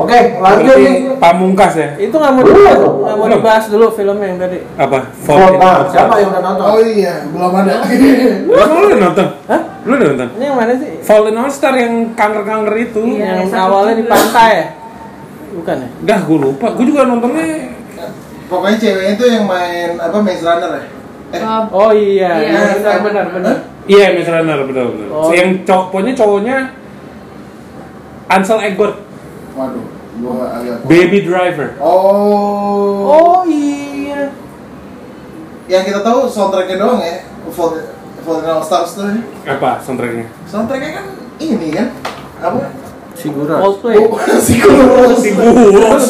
Speaker 9: Oke, lanjut
Speaker 8: Berarti
Speaker 9: nih.
Speaker 8: pamungkas ya?
Speaker 4: Itu nggak mau
Speaker 9: Belum.
Speaker 4: nggak mau dibahas dulu filmnya yang tadi.
Speaker 8: Apa?
Speaker 9: Fort Knox.
Speaker 4: Siapa yang udah nonton?
Speaker 6: Oh iya, belum ada.
Speaker 8: Lu udah nonton? Hah? Lu udah nonton?
Speaker 4: Ini yang mana sih?
Speaker 8: Fallen All Star yang kanker-kanker itu.
Speaker 4: yang
Speaker 5: Iya, yang satu
Speaker 4: awalnya di
Speaker 5: juga.
Speaker 4: pantai ya? Bukan ya?
Speaker 8: Dah, gue lupa. Gue juga nontonnya
Speaker 6: Pokoknya ceweknya itu yang main apa Maze Runner ya? Eh,
Speaker 5: Eh,
Speaker 4: Oh iya,
Speaker 5: Iya,
Speaker 4: iya benar
Speaker 6: sama.
Speaker 4: benar benar.
Speaker 8: Iya, Maze Runner, benar benar.
Speaker 4: Oh.
Speaker 8: Yang cowok, pokoknya cowoknya Ansel Elgort,
Speaker 6: waduh, gua agak.
Speaker 8: Baby Driver.
Speaker 6: Oh,
Speaker 4: Oh iya.
Speaker 6: yang kita tahu soundtracknya doang ya, Fault Fault in Our Stars tuh. ya.
Speaker 8: Apa soundtracknya?
Speaker 6: Soundtracknya kan ini kan, apa?
Speaker 9: Sigurus.
Speaker 4: Coldplay.
Speaker 6: Oh, si kurus.
Speaker 8: Sigurus.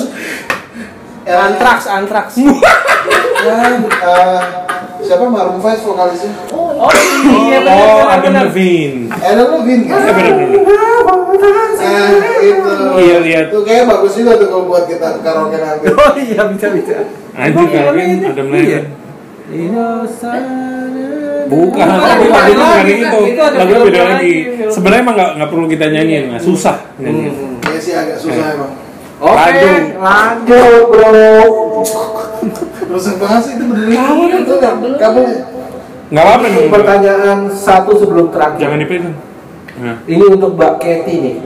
Speaker 6: Eh,
Speaker 4: Antrax, Antrax.
Speaker 6: <laughs> Kan, eh, siapa Maroon 5 vokalisnya?
Speaker 4: Oh iya benar
Speaker 8: Oh,
Speaker 4: benar,
Speaker 8: Adam
Speaker 4: benar.
Speaker 8: Levine.
Speaker 6: Adam Levine kan?
Speaker 8: Iya benar benar.
Speaker 6: Nah, itu.
Speaker 8: Iya, iya.
Speaker 6: Itu kayaknya bagus juga tuh kalau buat kita karaoke nanti.
Speaker 4: <laughs> Oh iya bisa bisa.
Speaker 8: Anjing kalau kan Adam
Speaker 4: Iya.
Speaker 8: Levine. Bukan,
Speaker 4: Bukan,
Speaker 8: bukan,
Speaker 4: bukan,
Speaker 8: itu bukan
Speaker 4: lagi. kan,
Speaker 8: itu.
Speaker 4: Itu ada
Speaker 8: Lagunya
Speaker 4: film
Speaker 8: beda
Speaker 4: lagi,
Speaker 8: lagi.
Speaker 4: film.
Speaker 8: Sebenarnya emang nggak nggak perlu kita nyanyiin, nah, susah nyanyiin.
Speaker 6: Ya sih agak susah emang.
Speaker 4: Oke,
Speaker 8: Lanjut.
Speaker 4: lanjut.
Speaker 9: Yo, bro.
Speaker 6: Rusak banget sih itu beneran.
Speaker 5: Kamu nih,
Speaker 6: Itu kan,
Speaker 5: belum.
Speaker 6: kamu
Speaker 8: Nggak apa-apa emang.
Speaker 9: Pertanyaan satu sebelum terakhir.
Speaker 8: Jangan dipegang. Nah,
Speaker 9: Ini untuk Mbak Kety nih.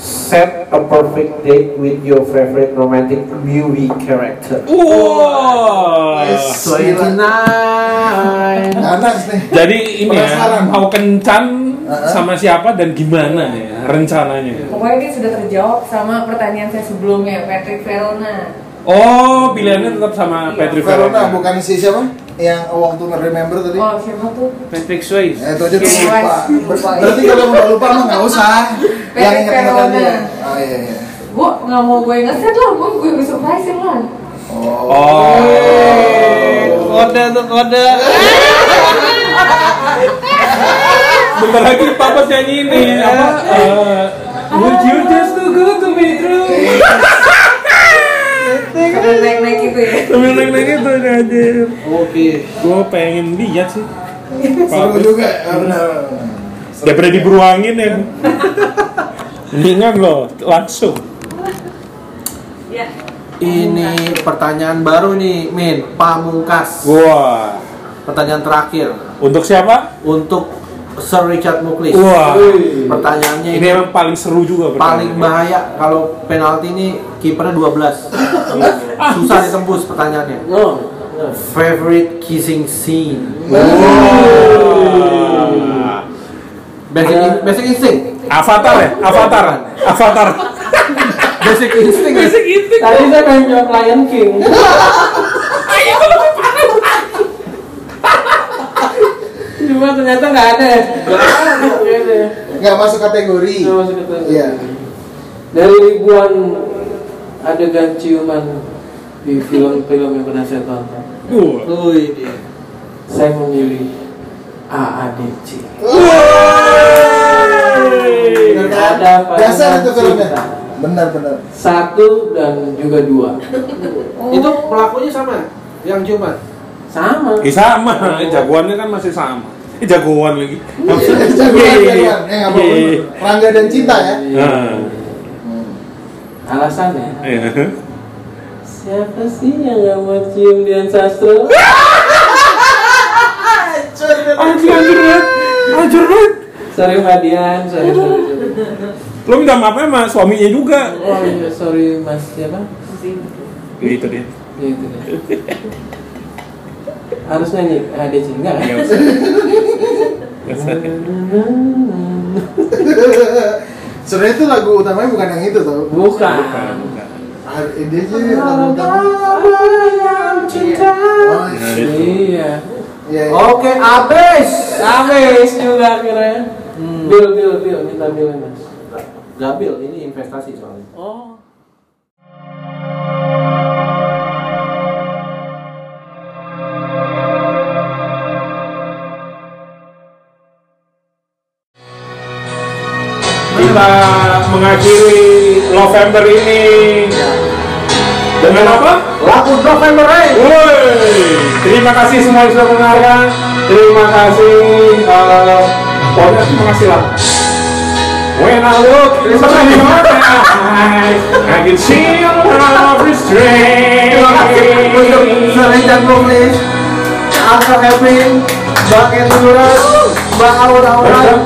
Speaker 9: Set a perfect date with your favorite romantic movie character.
Speaker 8: Wow.
Speaker 6: Yes, Eh, gila.
Speaker 4: Tonight.
Speaker 6: Ganas nih.
Speaker 8: Jadi ini ya,
Speaker 6: Penasaran.
Speaker 8: mau kencan sama siapa dan gimana ya rencananya?
Speaker 5: Pokoknya ini sudah terjawab sama pertanyaan saya sebelumnya, Patrick Verona.
Speaker 8: Oh, pilihannya tetap sama
Speaker 5: Iya.
Speaker 8: Patrick
Speaker 6: Verona bukan si siapa? Yang Want to Remember tadi?
Speaker 5: Oh, siapa tuh?
Speaker 4: Patrick Swayze.
Speaker 6: Ya, itu aja tuh
Speaker 5: Yes,
Speaker 6: lupa.
Speaker 5: yes.
Speaker 6: Ber- Berarti kalau udah lupa mah nggak usah. Yang Yang ingat-ingat
Speaker 5: Verona.
Speaker 6: aja. Oh iya iya.
Speaker 5: Gue nggak mau gue ngeset lah, gue gue gue surprisein lah.
Speaker 8: Oh.
Speaker 4: Kode tuh kode.
Speaker 8: Bentar lagi papa nyanyi ini apa? eh, Would you just too good to be true?
Speaker 5: Sambil naik naik gitu ya.
Speaker 8: Sambil naik-naik itu udah aja.
Speaker 4: Oke.
Speaker 8: Gue pengen lihat sih.
Speaker 6: Seru
Speaker 8: Bagus.
Speaker 6: juga. ya, Benar.
Speaker 8: Daripada diberuangin ya. Mendingan loh, langsung.
Speaker 5: Ya.
Speaker 4: Ini pertanyaan baru nih, Min. Pamungkas.
Speaker 8: Wah.
Speaker 4: Pertanyaan terakhir
Speaker 8: Untuk siapa?
Speaker 4: untuk Sir Richard Muklis.
Speaker 8: Wah.
Speaker 4: Pertanyaannya
Speaker 8: Ini
Speaker 4: ini
Speaker 8: emang paling seru juga.
Speaker 4: paling
Speaker 8: pertanyaan.
Speaker 4: bahaya kalau penalti ini kipernya
Speaker 8: Iya.
Speaker 4: 12. <laughs> Susah ditembus pertanyaannya.
Speaker 7: No.
Speaker 4: Favorite kissing scene.
Speaker 8: Wah.
Speaker 4: Basic, in- basic instinct.
Speaker 8: Avatar ya? Avatar. Avatar.
Speaker 4: Basic instinct. ya?
Speaker 8: Basic instinct.
Speaker 7: Tadi saya pengen jawab Lion King. Cuma ternyata nggak ada. ya? Nggak ada. ya?
Speaker 6: Nggak masuk kategori.
Speaker 7: Nggak masuk kategori.
Speaker 6: Iya.
Speaker 7: Dari ribuan adegan ciuman di film-film yang pernah saya tonton,
Speaker 8: Wah.
Speaker 4: Wih, dia.
Speaker 7: saya memilih AADC.
Speaker 6: Benar kan?
Speaker 7: Ada apa
Speaker 6: Dasar
Speaker 7: dengan
Speaker 6: itu filmnya.
Speaker 7: cinta?
Speaker 6: Benar benar.
Speaker 7: Satu dan juga dua.
Speaker 4: Itu pelakunya sama yang cuma
Speaker 7: Sama.
Speaker 8: Eh sama, Eh, jagoannya kan masih sama. Eh jagoan lagi.
Speaker 6: Jagoan jagoan. Ya nggak apa-apa.
Speaker 8: Iya.
Speaker 6: Rangga dan Cinta ya.
Speaker 8: Nah,
Speaker 7: Alasannya
Speaker 8: iya.
Speaker 7: siapa sih yang nggak mau cium Dian Sastro?
Speaker 8: Anjir anjir banget. Anjir banget.
Speaker 7: sorry Mbak Dian, sorry. sorry, sorry.
Speaker 8: Lo minta maaf sama suaminya juga.
Speaker 7: Oh iya, sorry Mas siapa?
Speaker 8: Gitu dia.
Speaker 7: Ya, itu deh. Harus nyanyi ADC enggak?
Speaker 8: Nggak usah. Nggak usah.
Speaker 6: Sebenarnya itu lagu utamanya bukan yang itu tau.
Speaker 7: Bukan.
Speaker 8: Bukan, bukan.
Speaker 6: Ah, Ini aja lagu utama. Oh,
Speaker 8: Nah, itu.
Speaker 7: Iya.
Speaker 6: Iya. iya.
Speaker 4: Oke, abis.
Speaker 7: Habis juga akhirnya.
Speaker 4: Hmm.
Speaker 7: Bill, Bill, Bill, minta Bill Mas.
Speaker 4: Gabil, ini investasi soalnya.
Speaker 7: Oh.
Speaker 8: Kita mengakhiri November ini dengan apa?
Speaker 4: Lagu November Rain.
Speaker 8: Woi, terima kasih semua yang sudah mendengarkan. Terima kasih. eh, pokoknya terima kasih lah.
Speaker 3: When I look into your eyes, I can see your love
Speaker 9: Untuk
Speaker 3: restrained.
Speaker 9: Selain Jangkung Lis Angka Kevin Bang Enduran Bang Aura Aura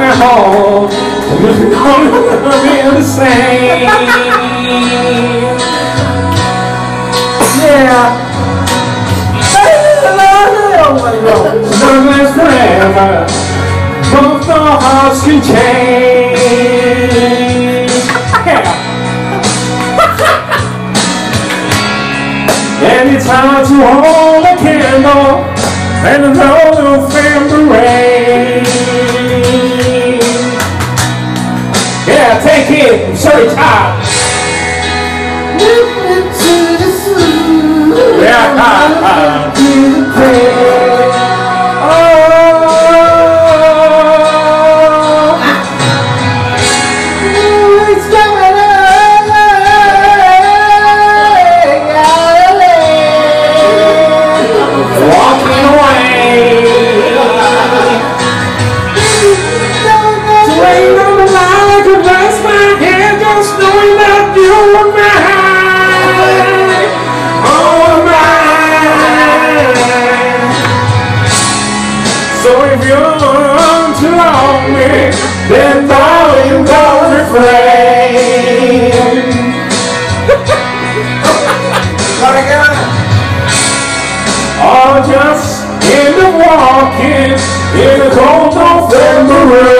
Speaker 3: Now, we're gonna be the same.
Speaker 9: Yeah
Speaker 3: One last forever, both our hearts can change. and it's hard to hold a candle and a roll of amber rain. Yeah, take it, ah. search out. Yeah, ah, ha, ha. Oh. walking away. Swing on the line, I could rest my head just knowing that you were mine. Oh, mine. So if you're to love me, then darling, don't refrain. Or just in the walking in the cold November rain.